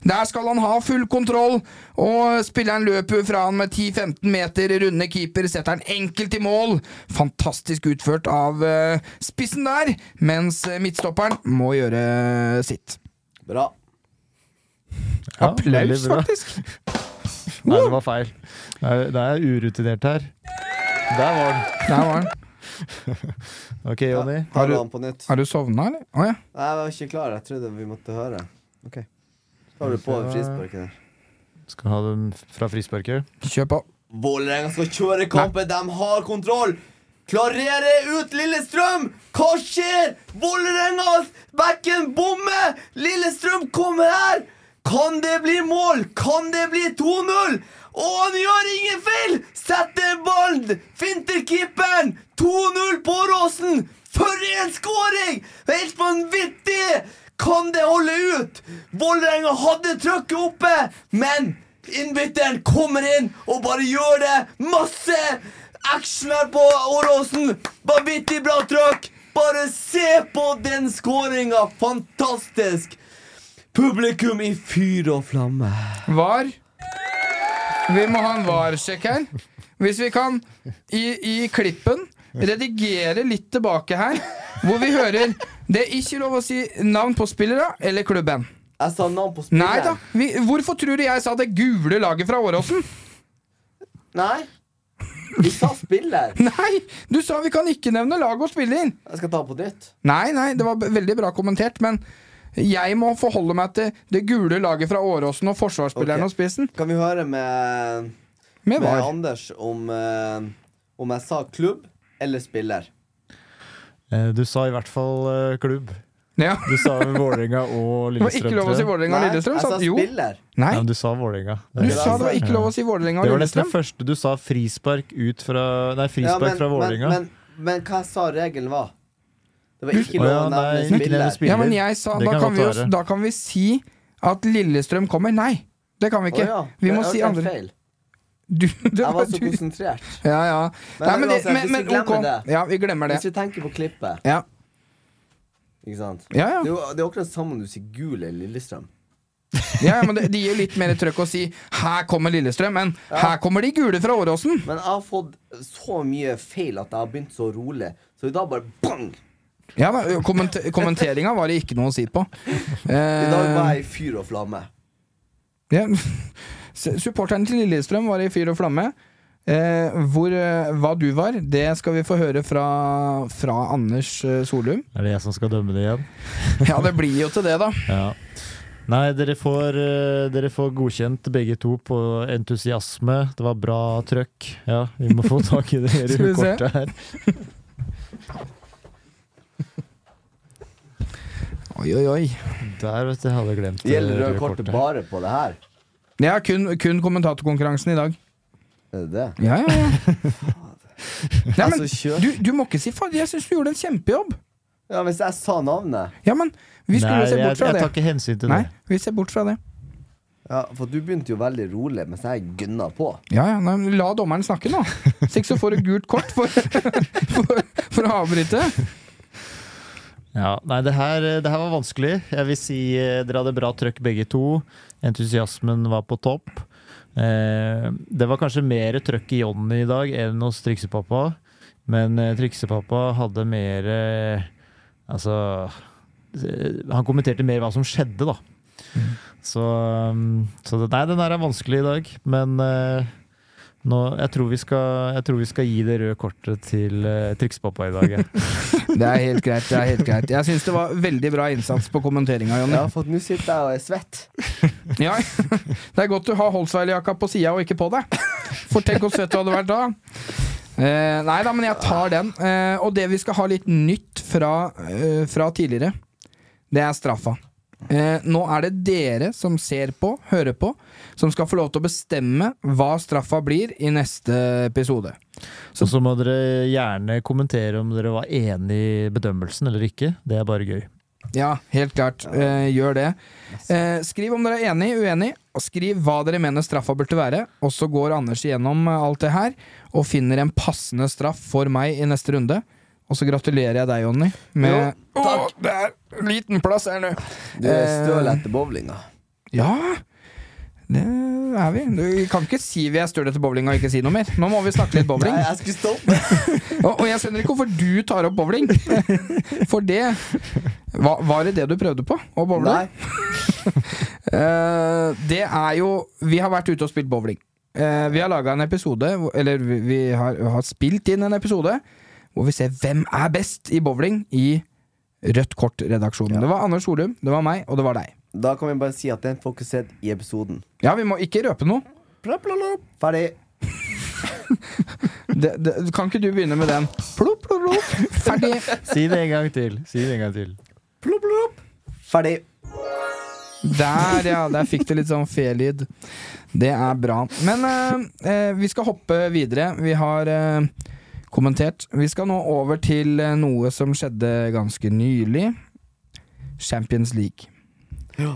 [SPEAKER 1] Der skal han ha full kontroll, og spilleren løper jo fra han med 10-15 meter, runde keeper, setter han enkelt i mål. Fantastisk utført av eh, spissen der, mens eh, midtstopperen må gjøre sitt.
[SPEAKER 2] Bra.
[SPEAKER 3] Ja,
[SPEAKER 1] Applaus,
[SPEAKER 3] veldig bra.
[SPEAKER 1] faktisk!
[SPEAKER 3] Nei, det var feil. Det er, det er urutinert her. Der var den.
[SPEAKER 1] Der var den.
[SPEAKER 3] Ok, Jonny.
[SPEAKER 1] Har
[SPEAKER 2] Har
[SPEAKER 1] du-
[SPEAKER 2] du den på nytt?
[SPEAKER 1] Har du sovna, eller? Å ja.
[SPEAKER 2] Nei, jeg var ikke klar. Jeg trodde vi måtte høre. Ok. Tar du på frisparken?
[SPEAKER 3] Skal ha den fra frisparket.
[SPEAKER 1] Kjør på.
[SPEAKER 2] Vålerenga skal kjøre kampen. De har kontroll. Klarere ut Lillestrøm! Hva skjer? Vålerengas bekken bommer! Lillestrøm kommer her! Kan det bli mål? Kan det bli 2-0? Og han gjør ingen feil! Setter ballen! Finter keeperen! 2-0 på Åråsen! For en skåring! Helt vanvittig! Kan det holde ut? Vålerenga hadde trøkket oppe, men Innbytteren kommer inn og bare gjør det. Masse action her på Åråsen. Vanvittig bra trøkk. Bare se på den skåringa. Fantastisk. Publikum i fyr og flamme.
[SPEAKER 1] Var. Vi må ha en var-sjekk her. Hvis vi kan, i, i klippen, redigere litt tilbake her, hvor vi hører Det er ikke lov å si navn på spillere eller klubben.
[SPEAKER 2] Jeg sa navn på
[SPEAKER 1] Nei da.
[SPEAKER 2] spilleren.
[SPEAKER 1] Vi, hvorfor tror du jeg sa det gule laget fra Åråsen?
[SPEAKER 2] Nei. Vi sa spiller.
[SPEAKER 1] Nei! Du sa vi kan ikke nevne lag og spiller.
[SPEAKER 2] Jeg skal ta på nytt.
[SPEAKER 1] Nei, nei, det var b- veldig bra kommentert, men jeg må forholde meg til det gule laget fra Åråsen og forsvarsspilleren
[SPEAKER 2] Ok.
[SPEAKER 1] og spissen.
[SPEAKER 2] Kan vi høre med,
[SPEAKER 1] Med var.
[SPEAKER 2] Anders om, eh, om jeg sa klubb eller spiller?
[SPEAKER 3] Eh, Du sa i hvert fall eh, klubb.
[SPEAKER 1] Ja.
[SPEAKER 3] Du sa vel Vålerenga og
[SPEAKER 1] Det var
[SPEAKER 3] Lillestrøm.
[SPEAKER 1] ikke lov å si
[SPEAKER 3] tror jeg.
[SPEAKER 1] Vålerenga og Lillestrøm. sa-
[SPEAKER 2] altså,
[SPEAKER 1] Jo.
[SPEAKER 2] spiller.
[SPEAKER 1] Nei,
[SPEAKER 3] Ja, men du sa Vålerenga.
[SPEAKER 1] du sa det var ikke lov å si Vålerenga
[SPEAKER 3] Det
[SPEAKER 1] og
[SPEAKER 3] var nesten
[SPEAKER 1] Lillestrøm.
[SPEAKER 3] det første du sa. Frispark ut fra Nei,
[SPEAKER 2] Ja,
[SPEAKER 3] frispark fra Vålerenga.
[SPEAKER 2] Men, men, men hva jeg sa regelen var? Det var ikke
[SPEAKER 3] Å
[SPEAKER 2] lov
[SPEAKER 3] ja,
[SPEAKER 2] å nevne
[SPEAKER 3] nei, ikke nevne
[SPEAKER 2] spiller.
[SPEAKER 3] spiller.
[SPEAKER 1] Ja, men jeg sa
[SPEAKER 3] Det
[SPEAKER 1] da
[SPEAKER 3] kan
[SPEAKER 1] kan,
[SPEAKER 3] godt
[SPEAKER 1] vi jo,
[SPEAKER 3] være.
[SPEAKER 1] da kan vi si at Lillestrøm kommer. Nei, det kan vi
[SPEAKER 2] Å
[SPEAKER 1] ikke.
[SPEAKER 2] ja,
[SPEAKER 1] Vi må
[SPEAKER 2] det er
[SPEAKER 1] si
[SPEAKER 2] helt
[SPEAKER 1] andre.
[SPEAKER 2] Feil.
[SPEAKER 1] Du, det
[SPEAKER 2] Jeg
[SPEAKER 1] var
[SPEAKER 2] var så
[SPEAKER 1] du.
[SPEAKER 2] konsentrert.
[SPEAKER 1] Ja, ja.
[SPEAKER 2] Men
[SPEAKER 1] Nei, men, det,
[SPEAKER 2] uansett,
[SPEAKER 1] men,
[SPEAKER 2] hvis vi
[SPEAKER 1] men ok.
[SPEAKER 2] glemmer det.
[SPEAKER 1] Ja, vi glemmer det.
[SPEAKER 2] Hvis vi tenker på klippet,
[SPEAKER 1] Ja,
[SPEAKER 2] ikke sant?
[SPEAKER 1] ja. ja.
[SPEAKER 2] Det er jo det er akkurat samme om du sier gul eller Lillestrøm.
[SPEAKER 1] Ja, ja, men det, det gir jo litt mer trøkk å si 'her kommer Lillestrøm' enn 'her kommer de gule fra Åråsen'.
[SPEAKER 2] Men jeg har fått så mye feil at jeg har begynt så rolig, så i dag bare bang!
[SPEAKER 1] Ja, da, kommenter, Kommenteringa var det ikke noe å si på.
[SPEAKER 2] I dag var
[SPEAKER 1] Eh,
[SPEAKER 2] jeg i fyr og flamme.
[SPEAKER 1] ja. S- Supporterne til Lillestrøm var i fyr og flamme. Eh, hvor, eh, hva du var, det skal vi få høre fra, fra Anders eh, Solum.
[SPEAKER 3] Er det jeg som skal dømme det igjen?
[SPEAKER 1] Ja, det blir jo til det, da.
[SPEAKER 3] Ja. Nei, dere får, eh, dere får godkjent begge to på entusiasme. Det var bra trøkk. Ja, vi må få tak i det her
[SPEAKER 1] Skal vi se?
[SPEAKER 3] kortet her.
[SPEAKER 1] Oi, oi, oi.
[SPEAKER 3] Der, vet du, hadde jeg glemt eh,
[SPEAKER 2] Det gjelder
[SPEAKER 3] røde
[SPEAKER 2] røde kortet bare på det her.
[SPEAKER 1] Ja, kun, kun kommentatorkonkurransen i dag.
[SPEAKER 2] Er det det?
[SPEAKER 1] Ja, ja, ja. Nei, men,
[SPEAKER 2] Altså, kjør.
[SPEAKER 1] du, du må ikke si 'fader'. Jeg syns du gjorde en kjempejobb.
[SPEAKER 2] Ja, hvis jeg sa navnet
[SPEAKER 1] Ja, men vi skulle
[SPEAKER 3] Nei,
[SPEAKER 1] jo se bort fra
[SPEAKER 3] jeg, jeg
[SPEAKER 1] det.
[SPEAKER 3] tar ikke hensyn til
[SPEAKER 1] Nei,
[SPEAKER 3] det.
[SPEAKER 1] vi ser bort fra det.
[SPEAKER 2] Ja, for du begynte jo veldig rolig, mens jeg gønna på.
[SPEAKER 1] Ja, ja, nei, men La dommeren snakke nå. Hvis ikke så får du gult kort for, for, for å avbryte.
[SPEAKER 3] Ja, nei, det her, eh, det her var vanskelig. Jeg vil si eh, dere hadde bra trøkk begge to. Entusiasmen var på topp. Eh, det var kanskje mer trøkk i Johnny i dag enn hos triksepappa. Men eh, triksepappa hadde mer eh, Altså eh, Han kommenterte mer hva som skjedde, da. Så, um, så det, Nei, den her er vanskelig i dag, men eh, nå, jeg, tror vi skal, jeg tror vi skal gi det røde kortet til eh, triksepappa i dag. jeg.
[SPEAKER 1] Det er helt greit. det er helt greit Jeg syns det var veldig bra innsats på kommenteringa, Jonny.
[SPEAKER 2] Ja, for nå sitter jeg og er svett.
[SPEAKER 1] Ja. Det er godt du har Holsweiler-jakka på sida og ikke på deg. For tenk hvor søt du hadde vært da. Eh, nei da, men jeg tar den. Eh, og det vi skal ha litt nytt fra, eh, fra tidligere, det er straffa. Eh, nå er det dere som ser på, hører på, som skal få lov til å bestemme hva straffa blir i neste episode.
[SPEAKER 3] Så, så må dere gjerne kommentere om dere var enig i bedømmelsen eller ikke. Det er bare gøy.
[SPEAKER 1] Ja, helt klart. Eh, gjør det. Eh, skriv om dere er enig, uenig, og skriv hva dere mener straffa burde være. Og så går Anders igjennom eh, alt det her og finner en passende straff for meg i neste runde. Og så gratulerer jeg deg, Jonny, med
[SPEAKER 2] Jo, takk.
[SPEAKER 1] Å, det er liten plass her nå!
[SPEAKER 2] Du er støl
[SPEAKER 1] Eh.
[SPEAKER 2] etter bowlinga.
[SPEAKER 1] Ja, det er vi. Du kan ikke si vi er støle til bowling og ikke si noe mer. Nå må vi snakke litt bowling.
[SPEAKER 2] Nei, jeg skulle stoppe.
[SPEAKER 1] Og, og jeg skjønner ikke hvorfor du tar opp bowling. For det hva, Var det det du prøvde på? Å bowle?
[SPEAKER 2] Nei,
[SPEAKER 1] Eh, det er jo Vi har vært ute og spilt bowling. Eh, vi har laga en episode, hvor- eller vi, vi har, har spilt inn en episode, hvor vi ser hvem er best i bowling i Rødt kort-redaksjonen. Det var Anders Solum, det var meg, og det var deg.
[SPEAKER 2] da kan vi bare si at den får ikke sett i episoden.
[SPEAKER 1] Ja, vi må ikke røpe noe.
[SPEAKER 2] Plopp, plopp, plopp. Ferdig.
[SPEAKER 1] Det, det, kan ikke du begynne med den? Plopp, plopp, plopp. Ferdig.
[SPEAKER 3] Si det en gang til. Si det en gang til.
[SPEAKER 2] Plopp, plopp. Ferdig.
[SPEAKER 1] Der, ja. Der fikk du litt sånn felyd. Det er bra. Men eh, eh, vi skal hoppe videre. Vi har eh, kommentert. Vi skal nå over til eh, noe som skjedde ganske nylig. Champions League.
[SPEAKER 2] Ja.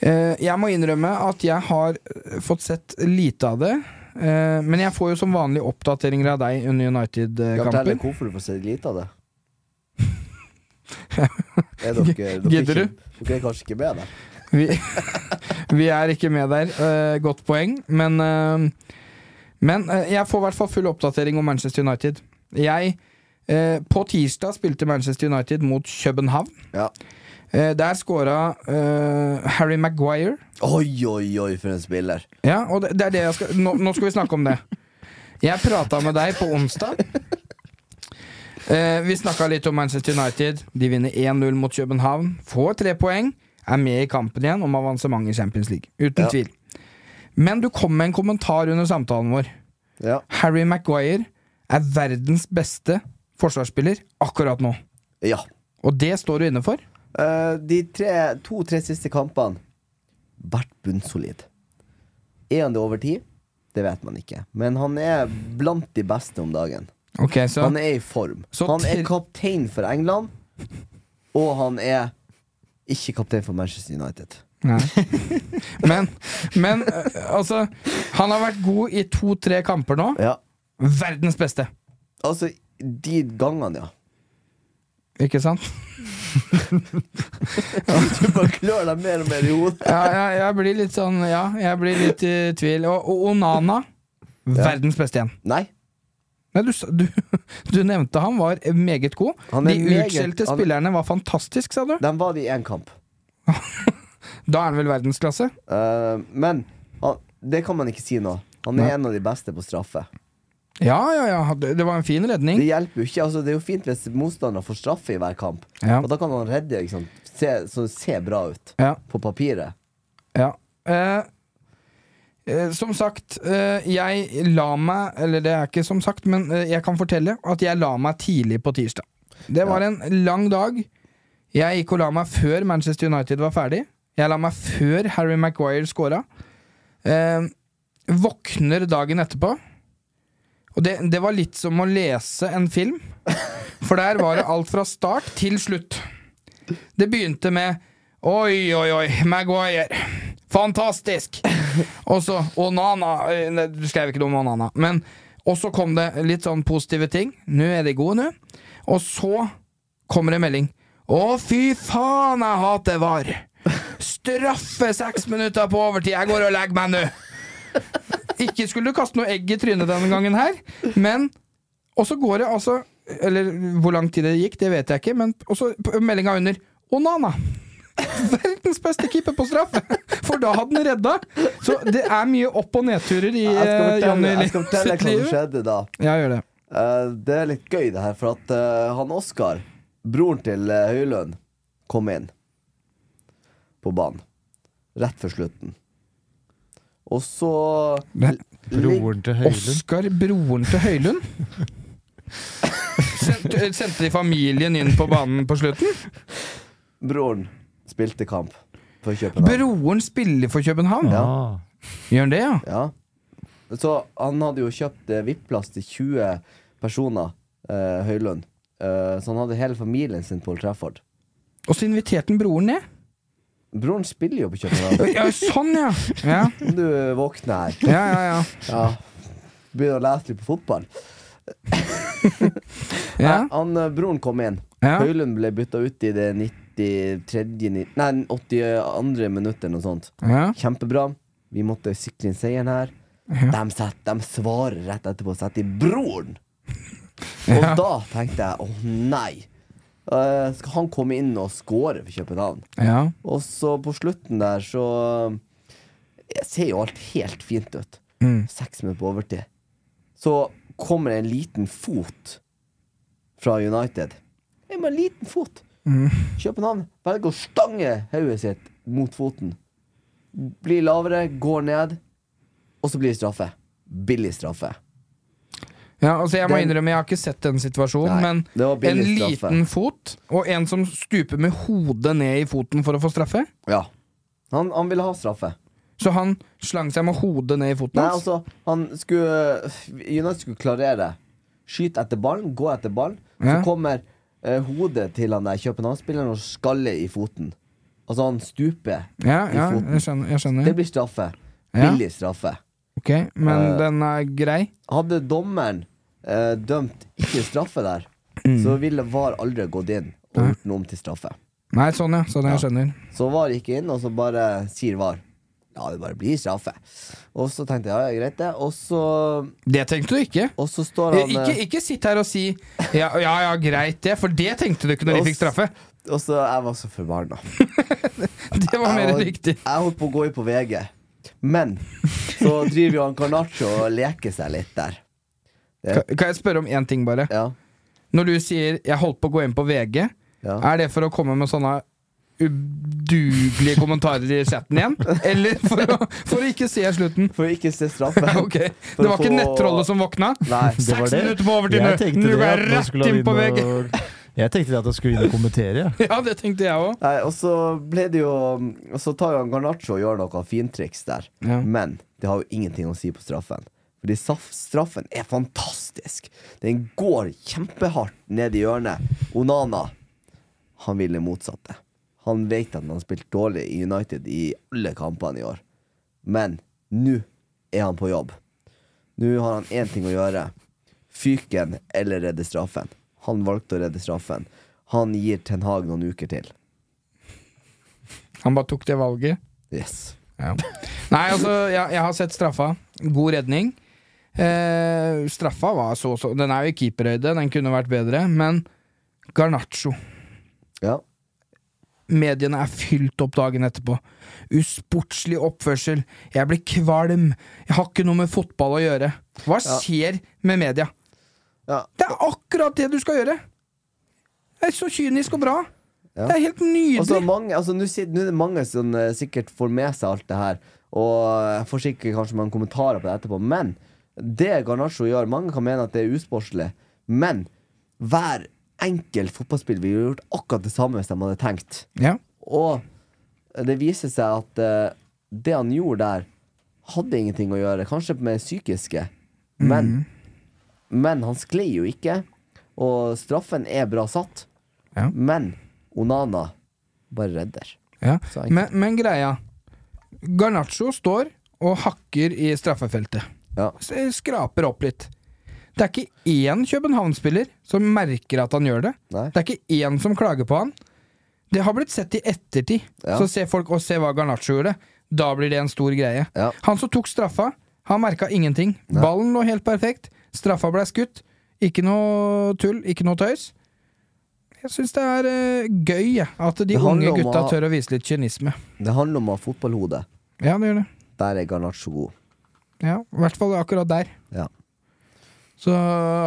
[SPEAKER 1] Eh, jeg må innrømme at jeg har eh, fått sett lite av det. Eh, men jeg får jo som vanlig oppdateringer av deg under
[SPEAKER 2] Kan jeg fortelle
[SPEAKER 1] United-kampen.
[SPEAKER 2] hvorfor du får sett lite av det? Er dere, dere
[SPEAKER 1] Gidder
[SPEAKER 2] ikke- Dere er kanskje ikke med der?
[SPEAKER 1] Vi, vi er ikke med der. Eh, godt poeng. Men, eh, men eh, jeg får i hvert fall full oppdatering om Manchester United. Jeg eh, På tirsdag spilte Manchester United mot København.
[SPEAKER 2] Ja.
[SPEAKER 1] Eh, der scora eh, Harry Maguire.
[SPEAKER 2] Oi, oi, oi, for en spiller.
[SPEAKER 1] Ja, og det, det er det jeg skal nå, nå skal vi snakke om det. Jeg prata med deg på onsdag. Eh, vi snakka litt om Manchester United. De vinner 1-0 mot København. Får tre poeng. Er med i kampen igjen om avansement i Champions League. Uten
[SPEAKER 2] Ja.
[SPEAKER 1] tvil. Men du kom med en kommentar under samtalen vår.
[SPEAKER 2] Ja.
[SPEAKER 1] Harry Maguire er verdens beste forsvarsspiller akkurat nå.
[SPEAKER 2] ja.
[SPEAKER 1] Og det står du inne for.
[SPEAKER 2] Eh, de tre, to-tre siste kampene vært bunnsolid. Er han det over tid? Det vet man ikke. Men han er blant de beste om dagen.
[SPEAKER 1] Ok, så
[SPEAKER 2] Han er i form.
[SPEAKER 1] Så
[SPEAKER 2] han er
[SPEAKER 1] til-
[SPEAKER 2] kaptein for England, og han er ikke kaptein for Manchester United.
[SPEAKER 1] Nei. Men, men eh, altså Han har vært god i to-tre kamper nå.
[SPEAKER 2] Ja.
[SPEAKER 1] Verdens beste!
[SPEAKER 2] Altså, de gangene, ja.
[SPEAKER 1] Ikke sant?
[SPEAKER 2] Du bare klør deg mer og mer i hodet.
[SPEAKER 1] Ja, jeg, jeg blir litt sånn Ja, jeg blir litt i tvil. Og, og Onana verdens beste igjen.
[SPEAKER 2] Nei.
[SPEAKER 1] Nei, du, sa- du, du nevnte han var meget god.
[SPEAKER 2] Han er
[SPEAKER 1] De
[SPEAKER 2] meget-
[SPEAKER 1] utskjelte
[SPEAKER 2] han-
[SPEAKER 1] spillerne var fantastisk, sa du.
[SPEAKER 2] De var det i én kamp.
[SPEAKER 1] Da er han vel verdensklasse?
[SPEAKER 2] Eh, men han, det kan man ikke si nå. Han
[SPEAKER 1] Nei.
[SPEAKER 2] er en av de beste på straffe.
[SPEAKER 1] Ja, ja, ja. Det, det var en fin
[SPEAKER 2] Det
[SPEAKER 1] redning.
[SPEAKER 2] hjelper jo ikke. Altså, det er jo fint hvis motstander får straffe i hver kamp.
[SPEAKER 1] Ja,
[SPEAKER 2] Og da kan han redde, ikke sant. Se, så se bra ut
[SPEAKER 1] ja,
[SPEAKER 2] på papiret.
[SPEAKER 1] ja. Eh, eh, som sagt, eh, jeg la meg Eller det er ikke som sagt, men eh, jeg kan fortelle at jeg la meg tidlig på tirsdag. Det var
[SPEAKER 2] Ja.
[SPEAKER 1] en lang dag. Jeg gikk og la meg før Manchester United var ferdig. Jeg la meg før Harry Maguire scora. Eh, våkner dagen etterpå. Og det, det var litt som å lese en film. For der var det alt fra start til slutt. Det begynte med Oi, oi, oi, Maguire. Fantastisk! Og så Onana. eh, nei, Du skrev ikke noe om Onana. Men og så kom det litt sånn positive ting. Nå er de gode, nå. Og så kommer det en melding. Å, fy faen, jeg hater VAR! Straffe seks minutter på overtid! Jeg går og legger meg nå! Ikke skulle du kaste noe egg i trynet denne gangen her, men Og så går det altså Eller hvor lang tid det gikk, det vet jeg ikke, men også meldinga under Onana. Verdens beste keeper på straff! For da hadde den redda! Så det er mye opp- og nedturer i
[SPEAKER 2] Jeg skal
[SPEAKER 1] eh, Johnny
[SPEAKER 2] fortelle, jeg
[SPEAKER 1] Linders
[SPEAKER 2] skal fortelle hva som
[SPEAKER 1] liv.
[SPEAKER 2] skjedde da.
[SPEAKER 1] Ja, gjør det.
[SPEAKER 2] Eh, det er litt gøy, det her, for at eh, han Oskar, broren til eh, Høylund, kom inn på banen rett før slutten. Og så
[SPEAKER 1] Men-
[SPEAKER 2] ligger-
[SPEAKER 3] Broren til Høylund.
[SPEAKER 1] Oskar, broren til Høylund? Sendte, eh, sendte de familien inn på banen på slutten?
[SPEAKER 2] Broren spilte kamp for København.
[SPEAKER 1] Broren spiller for København?
[SPEAKER 3] Ah.
[SPEAKER 1] Gjør han det, ja?
[SPEAKER 2] Ja. Så han hadde jo kjøpt eh, VIP-plass til 20 personer, eh, Høylund. Eh, så han hadde hele familien sin på Old Trafford.
[SPEAKER 1] Og så inviterte han broren ned?
[SPEAKER 2] Broren spiller jo på København.
[SPEAKER 1] Ja, sånn, ja! Ja,
[SPEAKER 2] Om du våkner her.
[SPEAKER 1] ja, ja. ja.
[SPEAKER 2] Ja. Begynner å lese litt på fotball.
[SPEAKER 1] ja.
[SPEAKER 2] Nei, han, eh, broren kom inn.
[SPEAKER 1] Ja.
[SPEAKER 2] Høylund ble bytta ut i det 93. ni- Nei, 82. minutt eller noe sånt.
[SPEAKER 1] ja.
[SPEAKER 2] Kjempebra. Vi måtte sikre inn seieren her. De, set, de svarer rett etterpå og setter i broren! Og
[SPEAKER 1] Ja.
[SPEAKER 2] da tenkte jeg åh nei. Eh, skal han komme inn og score for København?
[SPEAKER 1] ja.
[SPEAKER 2] Og så på slutten der så eh, ser jo alt helt fint ut.
[SPEAKER 1] Mm.
[SPEAKER 2] Seks minutter på overtid. Så kommer det en liten fot fra United. Det er bare en liten fot. København velger å stange hodet sitt mot foten. Blir lavere, går ned, og så blir det straffe. Billig straffe.
[SPEAKER 1] ja altså, jeg må
[SPEAKER 2] Den-
[SPEAKER 1] innrømme, jeg har ikke sett den situasjonen,
[SPEAKER 2] Nei, det var
[SPEAKER 1] men en
[SPEAKER 2] billig straffe.
[SPEAKER 1] liten fot og en som stuper med hodet ned i foten for å få straffe?
[SPEAKER 2] Ja. Han, han ville ha straffe.
[SPEAKER 1] Så han slang seg med hodet ned i foten
[SPEAKER 2] Nei,
[SPEAKER 1] hans?
[SPEAKER 2] altså, han skulle United skulle klarere. Skyte etter ballen, gå etter ballen. Så
[SPEAKER 1] Ja.
[SPEAKER 2] kommer eh, hodet til han der København-spilleren og skaller i foten. Altså, han stuper.
[SPEAKER 1] Ja,
[SPEAKER 2] i
[SPEAKER 1] ja,
[SPEAKER 2] foten.
[SPEAKER 1] jeg skjønner. Jeg
[SPEAKER 2] Det
[SPEAKER 1] skjønner.
[SPEAKER 2] blir straffe.
[SPEAKER 1] Ja.
[SPEAKER 2] Billig straffe.
[SPEAKER 1] Ok, men
[SPEAKER 2] Eh,
[SPEAKER 1] den er grei?
[SPEAKER 2] Hadde dommeren eh, dømt ikke straffe der,
[SPEAKER 1] Mm.
[SPEAKER 2] så ville VAR aldri gått inn og gjort den om til straffe.
[SPEAKER 1] Nei, sånn, ja. Sånn, jeg skjønner.
[SPEAKER 2] Så VAR gikk inn, og så bare sier VAR Ja, det bare blir straffe. Og så tenkte jeg ja, ja, greit, det. Og så,
[SPEAKER 1] Det tenkte du ikke?
[SPEAKER 2] og så står han eh,
[SPEAKER 1] ikke, ikke sitt her og si ja, ja, ja, greit det, for det tenkte du ikke når de fikk straffe.
[SPEAKER 2] Og så Jeg var så forbanna.
[SPEAKER 1] Det var mer
[SPEAKER 2] Jeg var-
[SPEAKER 1] riktig.
[SPEAKER 2] Jeg holdt på å gå inn på VG, men så driver jo han Carnaccio og leker seg litt der.
[SPEAKER 1] Kan kan jeg spørre om én ting, bare?
[SPEAKER 2] Ja,
[SPEAKER 1] Når du sier 'jeg holdt på å gå inn på VG',
[SPEAKER 2] ja.
[SPEAKER 1] er det for å komme med sånne udugelige kommentarer i chatten igjen? Eller for å, for å ikke se slutten?
[SPEAKER 2] For å ikke se straffe.
[SPEAKER 1] Ok, Det var ikke
[SPEAKER 2] å få-
[SPEAKER 1] nettrollet som våkna?
[SPEAKER 2] Nei.
[SPEAKER 3] Det var
[SPEAKER 1] Seks
[SPEAKER 3] det.
[SPEAKER 1] minutter på overtid
[SPEAKER 3] Jeg
[SPEAKER 1] nå!
[SPEAKER 3] tenkte
[SPEAKER 1] Du
[SPEAKER 3] det
[SPEAKER 1] går
[SPEAKER 3] at nå
[SPEAKER 1] rett
[SPEAKER 3] skulle han
[SPEAKER 1] inn på
[SPEAKER 3] inn
[SPEAKER 1] VG!
[SPEAKER 3] og- Jeg tenkte det at jeg skulle inn og kommentere. jeg.
[SPEAKER 1] Ja, det tenkte jeg òg.
[SPEAKER 2] Nei, og så ble det jo Og så tar jo han Garnaccio og gjør noe fintriks der.
[SPEAKER 1] Ja.
[SPEAKER 2] Men det har jo ingenting å si på straffen. Fordi saf- straffen er fantastisk. Den går kjempehardt ned i hjørnet. Onana, han vil det motsatte. Han vet at han har spilt dårlig i United i alle kampene i år. Men nå er han på jobb. Nå har han én ting å gjøre. Fyken eller redde straffen. Han valgte å redde straffen. Han gir Ten Hag noen uker til.
[SPEAKER 1] Han bare tok det valget.
[SPEAKER 2] Yes.
[SPEAKER 1] Nei, altså, jeg, jeg har sett straffa. God redning. Eh, straffa var så så Den er jo i keeperøyde, den kunne vært bedre, men Garnaccio.
[SPEAKER 2] Ja.
[SPEAKER 1] Mediene er fylt opp dagen etterpå. Usportslig oppførsel. Jeg blir kvalm. Jeg har ikke noe med fotball å gjøre. Hva skjer med media?
[SPEAKER 2] Ja.
[SPEAKER 1] Det er akkurat det du skal gjøre! Det er så kynisk og bra.
[SPEAKER 2] Ja.
[SPEAKER 1] Det er helt nydelig.
[SPEAKER 2] Og så mange, altså Nå sit- nå er det mange som eh, sikkert får med seg alt det her, og jeg får sikkert kanskje mange kommentarer på det etterpå, men det Garnaccio gjør Mange kan mene at det er usportslig, men hver enkelt fotballspiller ville gjort akkurat det samme hvis de hadde tenkt.
[SPEAKER 1] ja.
[SPEAKER 2] Og det viser seg at eh, det han gjorde der, hadde ingenting å gjøre. Kanskje med det psykiske, men,
[SPEAKER 1] Mhm.
[SPEAKER 2] men han sklei jo ikke. Og straffen er bra satt,
[SPEAKER 1] Ja.
[SPEAKER 2] men Onana bare redder.
[SPEAKER 1] Ja.
[SPEAKER 2] Så enkelt.
[SPEAKER 1] Men, men greia Garnaccio står og hakker i straffefeltet.
[SPEAKER 2] Ja.
[SPEAKER 1] S- Skraper opp litt. Det er ikke én København-spiller som merker at han gjør det.
[SPEAKER 2] Nei.
[SPEAKER 1] Det er ikke én som klager på han. Det har blitt sett i ettertid.
[SPEAKER 2] Ja.
[SPEAKER 1] Så ser folk og se hva Garnaccio gjorde. Da blir det en stor greie.
[SPEAKER 2] Ja.
[SPEAKER 1] Han som tok straffa, han merka ingenting.
[SPEAKER 2] Nei.
[SPEAKER 1] Ballen lå helt perfekt. Straffa blei skutt. Ikke noe tull, ikke noe tøys. Jeg syns det er eh, gøy jeg, at de
[SPEAKER 2] Det handler
[SPEAKER 1] unge
[SPEAKER 2] om
[SPEAKER 1] gutta
[SPEAKER 2] å-
[SPEAKER 1] tør å vise litt kynisme.
[SPEAKER 2] Det handler om å ha fotballhode.
[SPEAKER 1] Ja, det gjør det.
[SPEAKER 2] Der er Garnaccio god.
[SPEAKER 1] Ja, I hvert fall akkurat der.
[SPEAKER 2] Ja.
[SPEAKER 1] Så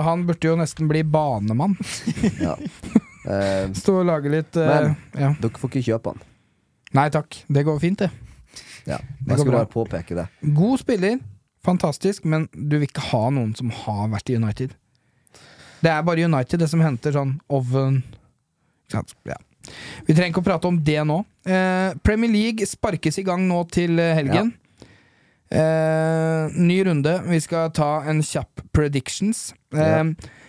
[SPEAKER 1] han burde jo nesten bli banemann.
[SPEAKER 2] ja. Eh,
[SPEAKER 1] Stå og lage litt eh, ja.
[SPEAKER 2] dere får ikke kjøpe han.
[SPEAKER 1] Nei takk, det går fint, det.
[SPEAKER 2] Ja.
[SPEAKER 1] går
[SPEAKER 2] Jeg skal
[SPEAKER 1] bra.
[SPEAKER 2] bare påpeke det.
[SPEAKER 1] God spiller, fantastisk, men du vil ikke ha noen som har vært i United. Det er bare United det som henter sånn Oven ikke sant? ja. Vi trenger ikke å prate om det nå. Eh, Premier League sparkes i gang nå til eh, helgen. Eh, ny runde. Vi skal ta en kjapp predictions. Eh,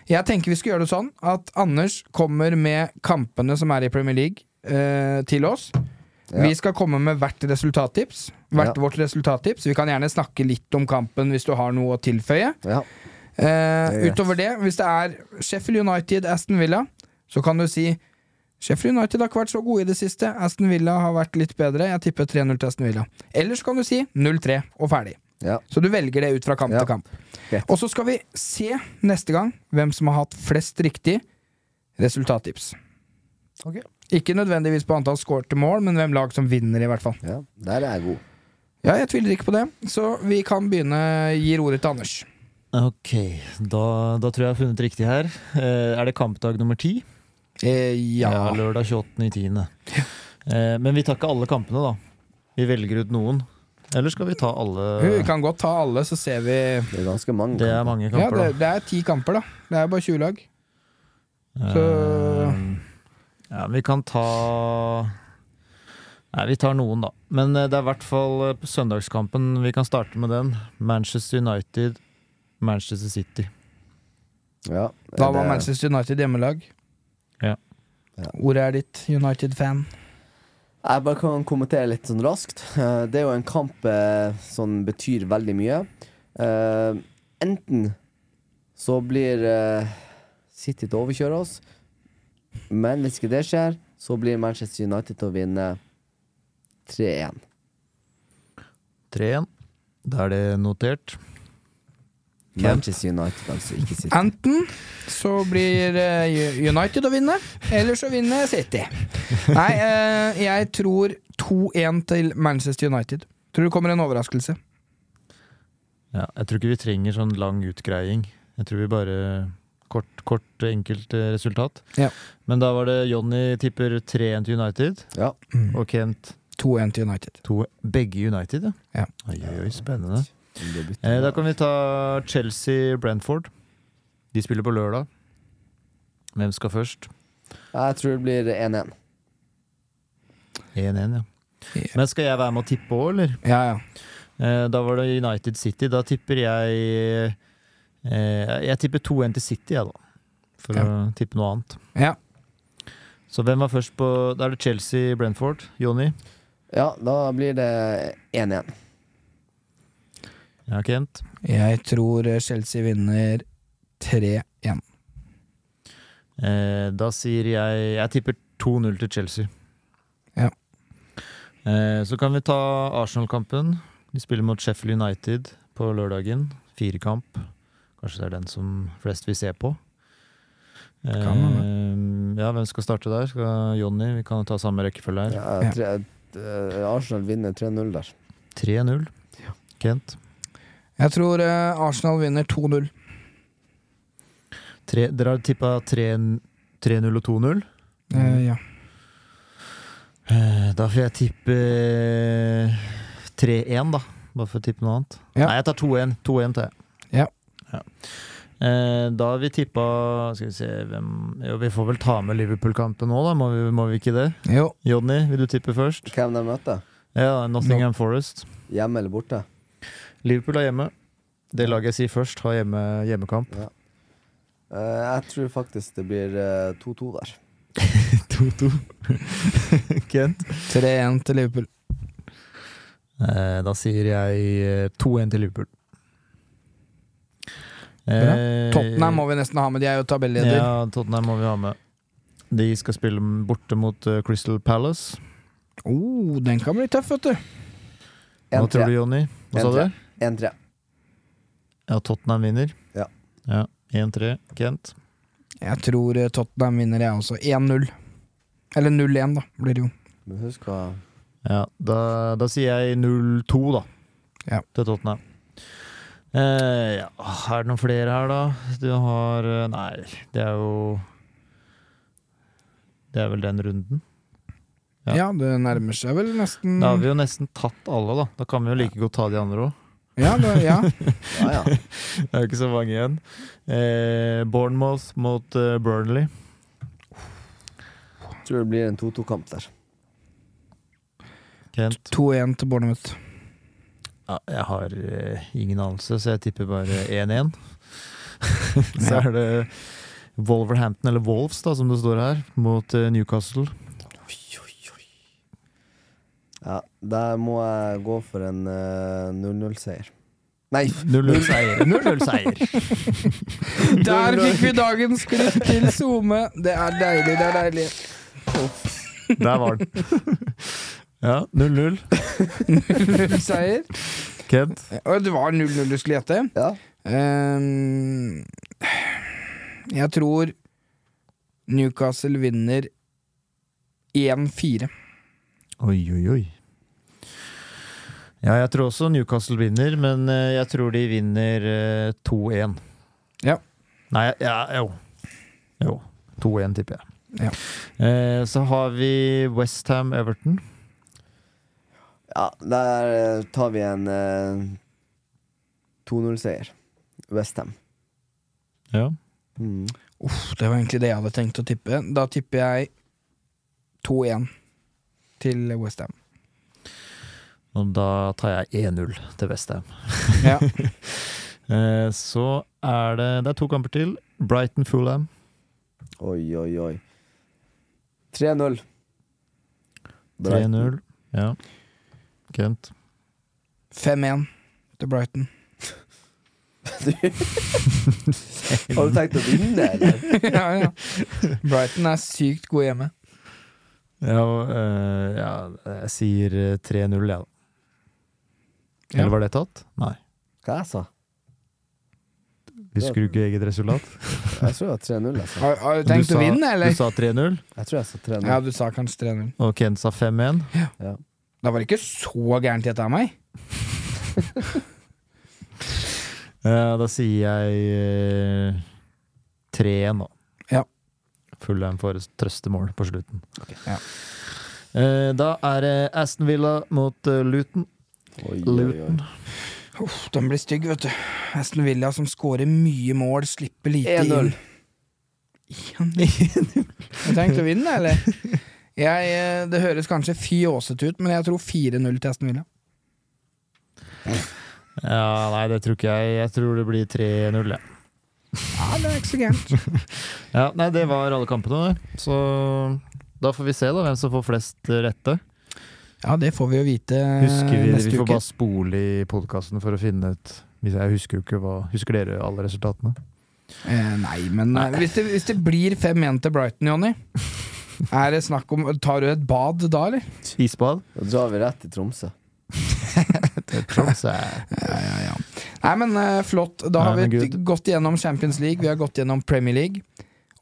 [SPEAKER 1] Jeg tenker vi skal gjøre det sånn at Anders kommer med kampene som er i Premier League, eh, til oss.
[SPEAKER 2] Ja.
[SPEAKER 1] Vi skal komme med hvert resultattips. Hvert
[SPEAKER 2] Ja.
[SPEAKER 1] vårt resultattips. Vi kan gjerne snakke litt om kampen hvis du har noe å tilføye.
[SPEAKER 2] Ja.
[SPEAKER 1] Eh,
[SPEAKER 2] Det er greit.
[SPEAKER 1] utover det, hvis det er Sheffield United, Aston Villa, så kan du si Sheffield United har ikke vært så gode i det siste. Aston Villa har vært litt bedre. Jeg tipper 3-0 til Aston Villa. Eller så kan du si 0-3 og ferdig.
[SPEAKER 2] Ja.
[SPEAKER 1] Så du velger det ut fra kamp
[SPEAKER 2] Ja.
[SPEAKER 1] til kamp.
[SPEAKER 2] Greit.
[SPEAKER 1] Og så skal vi se neste gang hvem som har hatt flest riktig resultattips.
[SPEAKER 2] Ok.
[SPEAKER 1] Ikke nødvendigvis på antall skårte mål, men hvem lag som vinner, i hvert fall.
[SPEAKER 2] ja. Der er jeg god.
[SPEAKER 1] Ja, jeg tviler ikke på det, så vi kan begynne gir ordet til Anders.
[SPEAKER 3] Ok, da, da tror jeg jeg har funnet riktig her. Eh, er det kampdag nummer ti?
[SPEAKER 1] Eh, ja.
[SPEAKER 3] lørdag 28.10. Eh, men vi tar ikke alle kampene, da. Vi velger ut noen. Eller skal vi ta
[SPEAKER 1] Vi
[SPEAKER 3] alle?
[SPEAKER 1] kan godt ta alle, så ser vi
[SPEAKER 2] Det er ganske mange.
[SPEAKER 3] Det
[SPEAKER 2] kamper.
[SPEAKER 3] er mange
[SPEAKER 1] Ja,
[SPEAKER 3] kamper,
[SPEAKER 1] det, det er ti kamper, da. Det er bare 20 lag.
[SPEAKER 3] da.
[SPEAKER 1] så-
[SPEAKER 3] Eh, ja, vi kan ta Nei, vi tar noen, da. Men eh, det er i hvert fall eh, på søndagskampen. Vi kan starte med den. Manchester United, Manchester City.
[SPEAKER 2] Ja.
[SPEAKER 1] Da var
[SPEAKER 2] det-
[SPEAKER 1] Manchester United hjemmelag.
[SPEAKER 3] Ja.
[SPEAKER 2] Ja.
[SPEAKER 1] Ordet er ditt, United-fan.
[SPEAKER 2] Jeg bare kan kommentere litt sånn raskt. Eh, Det er jo en kamp eh, som betyr veldig mye. Eh, Enten så blir eh, City til å overkjøre oss, men hvis ikke det skjer, så blir Manchester United til å vinne 3-1.
[SPEAKER 3] 3-1. Da er det notert.
[SPEAKER 2] Manchester United, altså, ikke City.
[SPEAKER 1] Enten så blir eh, United å vinne, eller så vinner City. Nei, eh, jeg tror 2-1 til Manchester United. Tror det kommer en overraskelse.
[SPEAKER 3] Ja, jeg tror ikke vi trenger sånn lang utgreiing. Jeg tror vi bare Kort, kort enkelt eh, resultat.
[SPEAKER 1] Ja.
[SPEAKER 3] Men da var det Jonny tipper 3-1 til United,
[SPEAKER 2] Ja.
[SPEAKER 3] og Kent
[SPEAKER 1] 2-1 til United.
[SPEAKER 3] to. Begge United,
[SPEAKER 1] Ja.
[SPEAKER 3] Oi, oi, oi, spennende.
[SPEAKER 2] Det blir bytte.
[SPEAKER 3] Eh, da kan vi ta Chelsea-Brentford. De spiller på lørdag. Hvem skal først?
[SPEAKER 2] Jeg tror det blir 1-1.
[SPEAKER 3] 1-1, ja.
[SPEAKER 1] Ja.
[SPEAKER 3] Men skal jeg være med å tippe òg, eller?
[SPEAKER 1] Ja, ja.
[SPEAKER 3] Eh, da var det United City. Da tipper jeg eh, Jeg tipper 2-1 til City, jeg, da. For
[SPEAKER 1] Ja.
[SPEAKER 3] å tippe noe annet.
[SPEAKER 1] ja.
[SPEAKER 3] Så hvem var først på Da er det Chelsea-Brentford. Jonny?
[SPEAKER 2] Ja, da blir det 1-1.
[SPEAKER 3] Ja, Kent?
[SPEAKER 1] Jeg tror eh, Chelsea vinner 3-1.
[SPEAKER 3] Eh, da sier jeg Jeg tipper 2-0 til Chelsea.
[SPEAKER 1] Ja.
[SPEAKER 3] Eh, så kan vi ta Arsenal-kampen. De spiller mot Sheffield United på lørdagen. Firekamp. Kanskje det er den som flest vil se på. Eh,
[SPEAKER 1] Kan
[SPEAKER 3] ja, hvem skal starte der? Skal Jonny? Vi kan ta samme rekkefølge her.
[SPEAKER 2] Ja, tre, eh, Arsenal vinner 3-0 der.
[SPEAKER 3] 3-0. Kent.
[SPEAKER 1] Jeg tror eh, Arsenal vinner 2-0.
[SPEAKER 3] Tre, dere har tippa 3-0 og 2-0.
[SPEAKER 1] Eh,
[SPEAKER 2] Mm.
[SPEAKER 1] ja.
[SPEAKER 3] Eh, Da får jeg tippe eh, 3-1, da. Bare for å tippe noe annet.
[SPEAKER 1] Ja.
[SPEAKER 3] Nei, jeg tar 2-1. 2-1 tar jeg.
[SPEAKER 1] Ja.
[SPEAKER 3] Ja. Eh, Da har vi tippa Skal vi se hvem Jo, vi får vel ta med Liverpool-kampen nå, da. Må vi, må vi ikke det?
[SPEAKER 1] Jo.
[SPEAKER 3] Jonny, vil du tippe først?
[SPEAKER 2] Hvem de møter?
[SPEAKER 3] Ja, Nottingham Forest.
[SPEAKER 2] Hjemme eller borte?
[SPEAKER 3] Liverpool er hjemme. Det laget jeg sier først, har hjemme, hjemmekamp.
[SPEAKER 2] Ja. Eh, jeg tror faktisk det blir eh, 2-2 der.
[SPEAKER 3] 2-2. Kent?
[SPEAKER 1] 3-1 til Liverpool.
[SPEAKER 3] Eh, da sier jeg eh, 2-1 til Liverpool. Eh,
[SPEAKER 1] Tottenham må vi nesten ha med, de er jo tabelleder.
[SPEAKER 3] Ja, Tottenham må vi ha med. De skal spille borte mot eh, Crystal Palace.
[SPEAKER 1] Oh, den kan bli tøff, vet du.
[SPEAKER 3] Hva
[SPEAKER 2] 1-3.
[SPEAKER 3] tror du, Jonny? Hva sa du?
[SPEAKER 2] 1-3.
[SPEAKER 3] Ja, Tottenham vinner.
[SPEAKER 2] Ja.
[SPEAKER 3] ja 1-3. Kent.
[SPEAKER 1] Jeg tror eh, Tottenham vinner, jeg også. 1-0. Eller 0-1, da, blir det jo.
[SPEAKER 2] Men husk å
[SPEAKER 3] Ja, da, da sier jeg 0-2, da.
[SPEAKER 1] Ja.
[SPEAKER 3] Til Tottenham. Eh, ja, er det noen flere her, da? Du har eh, Nei, det er jo Det er vel den runden. Ja.
[SPEAKER 1] Ja, det nærmer seg vel nesten
[SPEAKER 3] Da har vi jo nesten tatt alle, da. Da kan vi jo like godt ta de andre òg.
[SPEAKER 1] Ja, det, ja.
[SPEAKER 2] Ja, ja.
[SPEAKER 3] Det er jo ikke så mange igjen. Eh, Bournemouth mot eh, Burnley.
[SPEAKER 2] Tror det blir en 2-2-kamp der.
[SPEAKER 3] Kent.
[SPEAKER 1] 2-1 til Bournemouth.
[SPEAKER 3] Ja, jeg har eh, ingen anelse, så jeg tipper bare 1-1. så er det Wolverhampton, eller Wolves, da, som det står her, mot eh, Newcastle.
[SPEAKER 2] Ja, der må jeg gå for en eh, 0-0-seier. Nei,
[SPEAKER 3] 0-0-seier. 0-0-seier.
[SPEAKER 1] Der fikk vi dagens klipp til SoMe! Det er deilig, det er deilig.
[SPEAKER 3] Der var den. Ja, 0-0.
[SPEAKER 1] Seier.
[SPEAKER 3] Kent.
[SPEAKER 1] Og det var 0-0 du skulle gjette.
[SPEAKER 2] ja.
[SPEAKER 1] Ehm, jeg tror Newcastle vinner 1-4.
[SPEAKER 3] Oi, oi, oi. Ja, jeg tror også Newcastle vinner, men eh, jeg tror de vinner eh, 2-1.
[SPEAKER 1] Ja.
[SPEAKER 3] Nei, ja, jo. Jo. 2-1, tipper jeg.
[SPEAKER 1] Ja.
[SPEAKER 3] Eh, så har vi Westham Everton.
[SPEAKER 2] ja, der eh, tar vi en eh, 2-0-seier. Westham.
[SPEAKER 3] Ja.
[SPEAKER 2] Mm.
[SPEAKER 1] Uff, det var egentlig det jeg hadde tenkt å tippe. Da tipper jeg 2-1 til Westham.
[SPEAKER 3] Og da tar jeg 1-0 til Westham.
[SPEAKER 1] Ja.
[SPEAKER 3] Eh, så er det Det er to kamper til. Brighton Fulham.
[SPEAKER 2] Oi, oi, oi. 3-0. Brighton.
[SPEAKER 3] 3-0. Ja. Kent.
[SPEAKER 1] 5-1 til Brighton.
[SPEAKER 2] Har du tenkt å vinne, eller?
[SPEAKER 1] ja, ja. Brighton er sykt gode hjemme.
[SPEAKER 3] Ja, og, eh, ja, jeg sier eh, 3-0, jeg, ja, da.
[SPEAKER 1] Ja.
[SPEAKER 3] Eller var det tatt? Nei.
[SPEAKER 2] Hva altså? jeg sa
[SPEAKER 3] Husker du ikke eget resultat?
[SPEAKER 2] Jeg tror jeg sa 3-0. Jeg, sa.
[SPEAKER 1] Har, har du tenkt
[SPEAKER 3] sa-
[SPEAKER 1] å vinne, eller?
[SPEAKER 3] Du sa 3-0,
[SPEAKER 2] altså. jeg tror jeg sa 3-0.
[SPEAKER 1] Ja, du sa kanskje 3-0.
[SPEAKER 3] og Kent sa 5-1.
[SPEAKER 1] Da var det ikke så gærent gjetta av meg.
[SPEAKER 3] Eh, da sier jeg eh, 3-1, da.
[SPEAKER 1] Ja.
[SPEAKER 3] Fullheim får et trøstemål på slutten.
[SPEAKER 1] Ja.
[SPEAKER 3] Eh, da er det Aston Villa mot eh, Luton.
[SPEAKER 2] Oi, oi, oi.
[SPEAKER 3] Luton.
[SPEAKER 1] Uff, den blir stygg, vet du. Aston Villa som scorer mye mål, slipper lite
[SPEAKER 2] 1-0.
[SPEAKER 1] inn. 1-0. Har du tenkt å vinne, eller? Jeg, eh, det høres kanskje fjåsete ut, men jeg tror 4-0 til Aston Villa.
[SPEAKER 3] Ja, nei, det tror ikke jeg. Jeg tror det blir 3-0, jeg.
[SPEAKER 1] Ja, det er ikke så gærent.
[SPEAKER 3] Ja, nei, det var alle kampene, det. Så da får vi se da hvem som får flest eh, rette.
[SPEAKER 1] Ja, det får vi jo vite eh,
[SPEAKER 3] Husker Vi,
[SPEAKER 1] neste
[SPEAKER 3] vi får
[SPEAKER 1] uke.
[SPEAKER 3] bare spole i podkasten for å finne ut hvis Jeg husker jo ikke hva Husker dere alle resultatene?
[SPEAKER 1] Eh, nei, men eh, Hvis, det, hvis det blir 5-1 til Brighton, Jonny, er det snakk om Tar du et bad da, eller?
[SPEAKER 3] Isbad?
[SPEAKER 2] Da drar vi rett til Tromsø.
[SPEAKER 3] Eh, Tromsø. er-
[SPEAKER 1] Ja, ja, ja. Nei, men eh, flott. Da har
[SPEAKER 3] Nei, men
[SPEAKER 1] vi
[SPEAKER 3] good.
[SPEAKER 1] gått gjennom Champions League, vi har gått gjennom Premier League.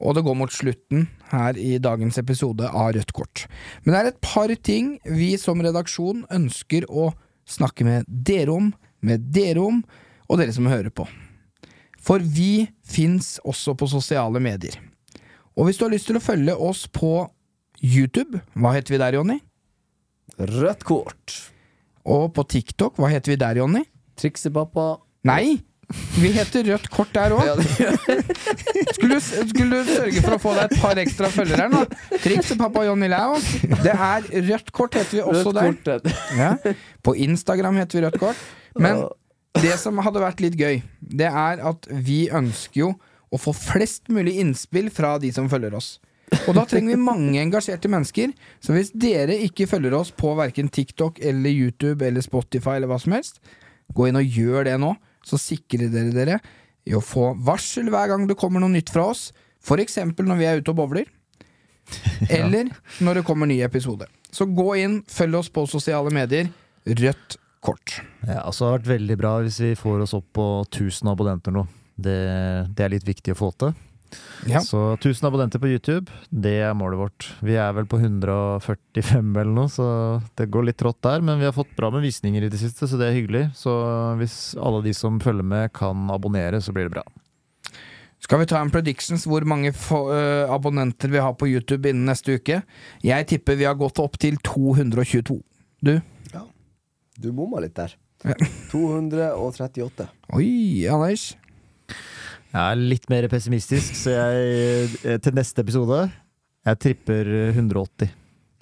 [SPEAKER 1] Og det går mot slutten her i dagens episode av Rødt kort. Men det er et par ting vi som redaksjon ønsker å snakke med dere om, med dere om, og dere som hører på. For vi fins også på sosiale medier. Og hvis du har lyst til å følge oss på YouTube, hva heter vi der, Jonny?
[SPEAKER 2] Rødt kort.
[SPEAKER 1] Og på TikTok, hva heter vi der, Jonny?
[SPEAKER 2] Triksepappa.
[SPEAKER 1] Nei! Vi heter Rødt kort der òg.
[SPEAKER 2] Ja, det-
[SPEAKER 1] Skulle, du- skulle du sørge for å få deg et par ekstra følgere her nå? Triks til pappa Johnny Lau. Det er Rødt kort heter vi også
[SPEAKER 2] Rødt
[SPEAKER 1] der.
[SPEAKER 2] kortet.
[SPEAKER 1] Ja. På Instagram heter vi Rødt kort. Men det som hadde vært litt gøy, det er at vi ønsker jo å få flest mulig innspill fra de som følger oss. Og da trenger vi mange engasjerte mennesker. Så hvis dere ikke følger oss på verken TikTok eller YouTube eller Spotify eller hva som helst, gå inn og gjør det nå, så sikrer dere dere i å få varsel hver gang det kommer noe nytt fra oss. For eksempel når vi er ute og bowler. Eller når det kommer ny episode. Så gå inn, følg oss på sosiale medier. Rødt kort.
[SPEAKER 3] Ja, altså, det har vært veldig bra hvis vi får oss opp på 1000 abonnenter nå. Det, det er litt viktig å få til.
[SPEAKER 1] Ja.
[SPEAKER 3] Så 1000 abonnenter på YouTube, det er målet vårt. Vi er vel på 145 eller noe, så det går litt trått der. Men vi har fått bra med visninger i det siste, så det er hyggelig. Så hvis alle de som følger med, kan abonnere, så blir det bra.
[SPEAKER 1] Skal vi ta en predictions hvor mange fo- øh, abonnenter vi har på YouTube innen neste uke? Jeg tipper vi har gått opp til 222. Du?
[SPEAKER 2] Du bomma litt der.
[SPEAKER 1] Ja.
[SPEAKER 2] 238.
[SPEAKER 1] Oi, Anders.
[SPEAKER 3] Jeg er litt mer pessimistisk, så jeg eh, til neste episode Jeg tripper 180.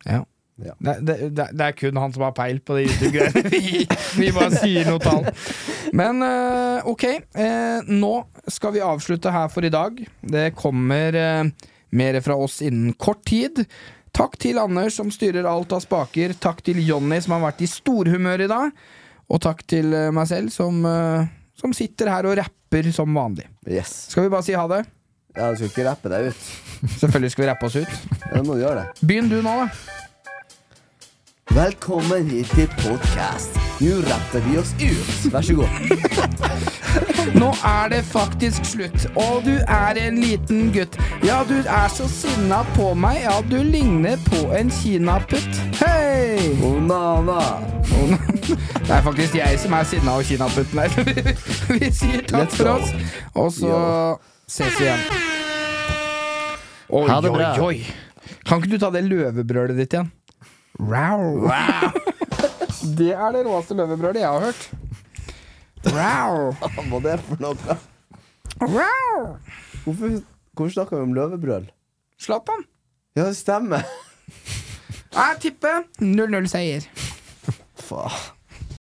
[SPEAKER 1] Det, det, det, det er kun han som har peil på de YouTube-greiene. Vi, vi bare sier noe tall. Men eh, ok, eh, nå skal vi avslutte her for i dag. Det kommer eh, mer fra oss innen kort tid. Takk til Anders som styrer alt av spaker. Takk til Jonny som har vært i storhumør i dag. Og takk til eh, meg selv som, eh, som sitter her og rapper som vanlig.
[SPEAKER 2] Yes.
[SPEAKER 1] Skal vi bare si ha det?
[SPEAKER 2] Ja, du skal ikke rappe deg ut.
[SPEAKER 1] Selvfølgelig skal vi rappe oss ut.
[SPEAKER 2] Ja, Du må gjøre det.
[SPEAKER 1] Begynn du nå, da.
[SPEAKER 2] Velkommen hit til podkast. Nå rapper vi oss ut. Vær så god.
[SPEAKER 1] Nå er det faktisk slutt, og du er en liten gutt. Ja, du er så sinna på meg, ja, du ligner på en kinaputt. Hei!
[SPEAKER 2] Onana.
[SPEAKER 1] Oh, no. Det er faktisk jeg som er sinna og kinaputten her. Vi sier takk
[SPEAKER 2] Let's
[SPEAKER 1] for
[SPEAKER 2] go.
[SPEAKER 1] oss, og så ses vi igjen. Oi,
[SPEAKER 3] Ha det
[SPEAKER 1] oi,
[SPEAKER 3] bra.
[SPEAKER 1] oi. Kan ikke du ta det løvebrølet ditt igjen? Rau. Det er det råeste løvebrølet jeg har hørt. Rau.
[SPEAKER 2] Hva var det for noe?
[SPEAKER 1] Rau.
[SPEAKER 2] Hvorfor, hvorfor snakker vi om løvebrøl?
[SPEAKER 1] Zlatan.
[SPEAKER 2] Ja, det stemmer.
[SPEAKER 1] Jeg tipper 0-0 seier.
[SPEAKER 2] Faen.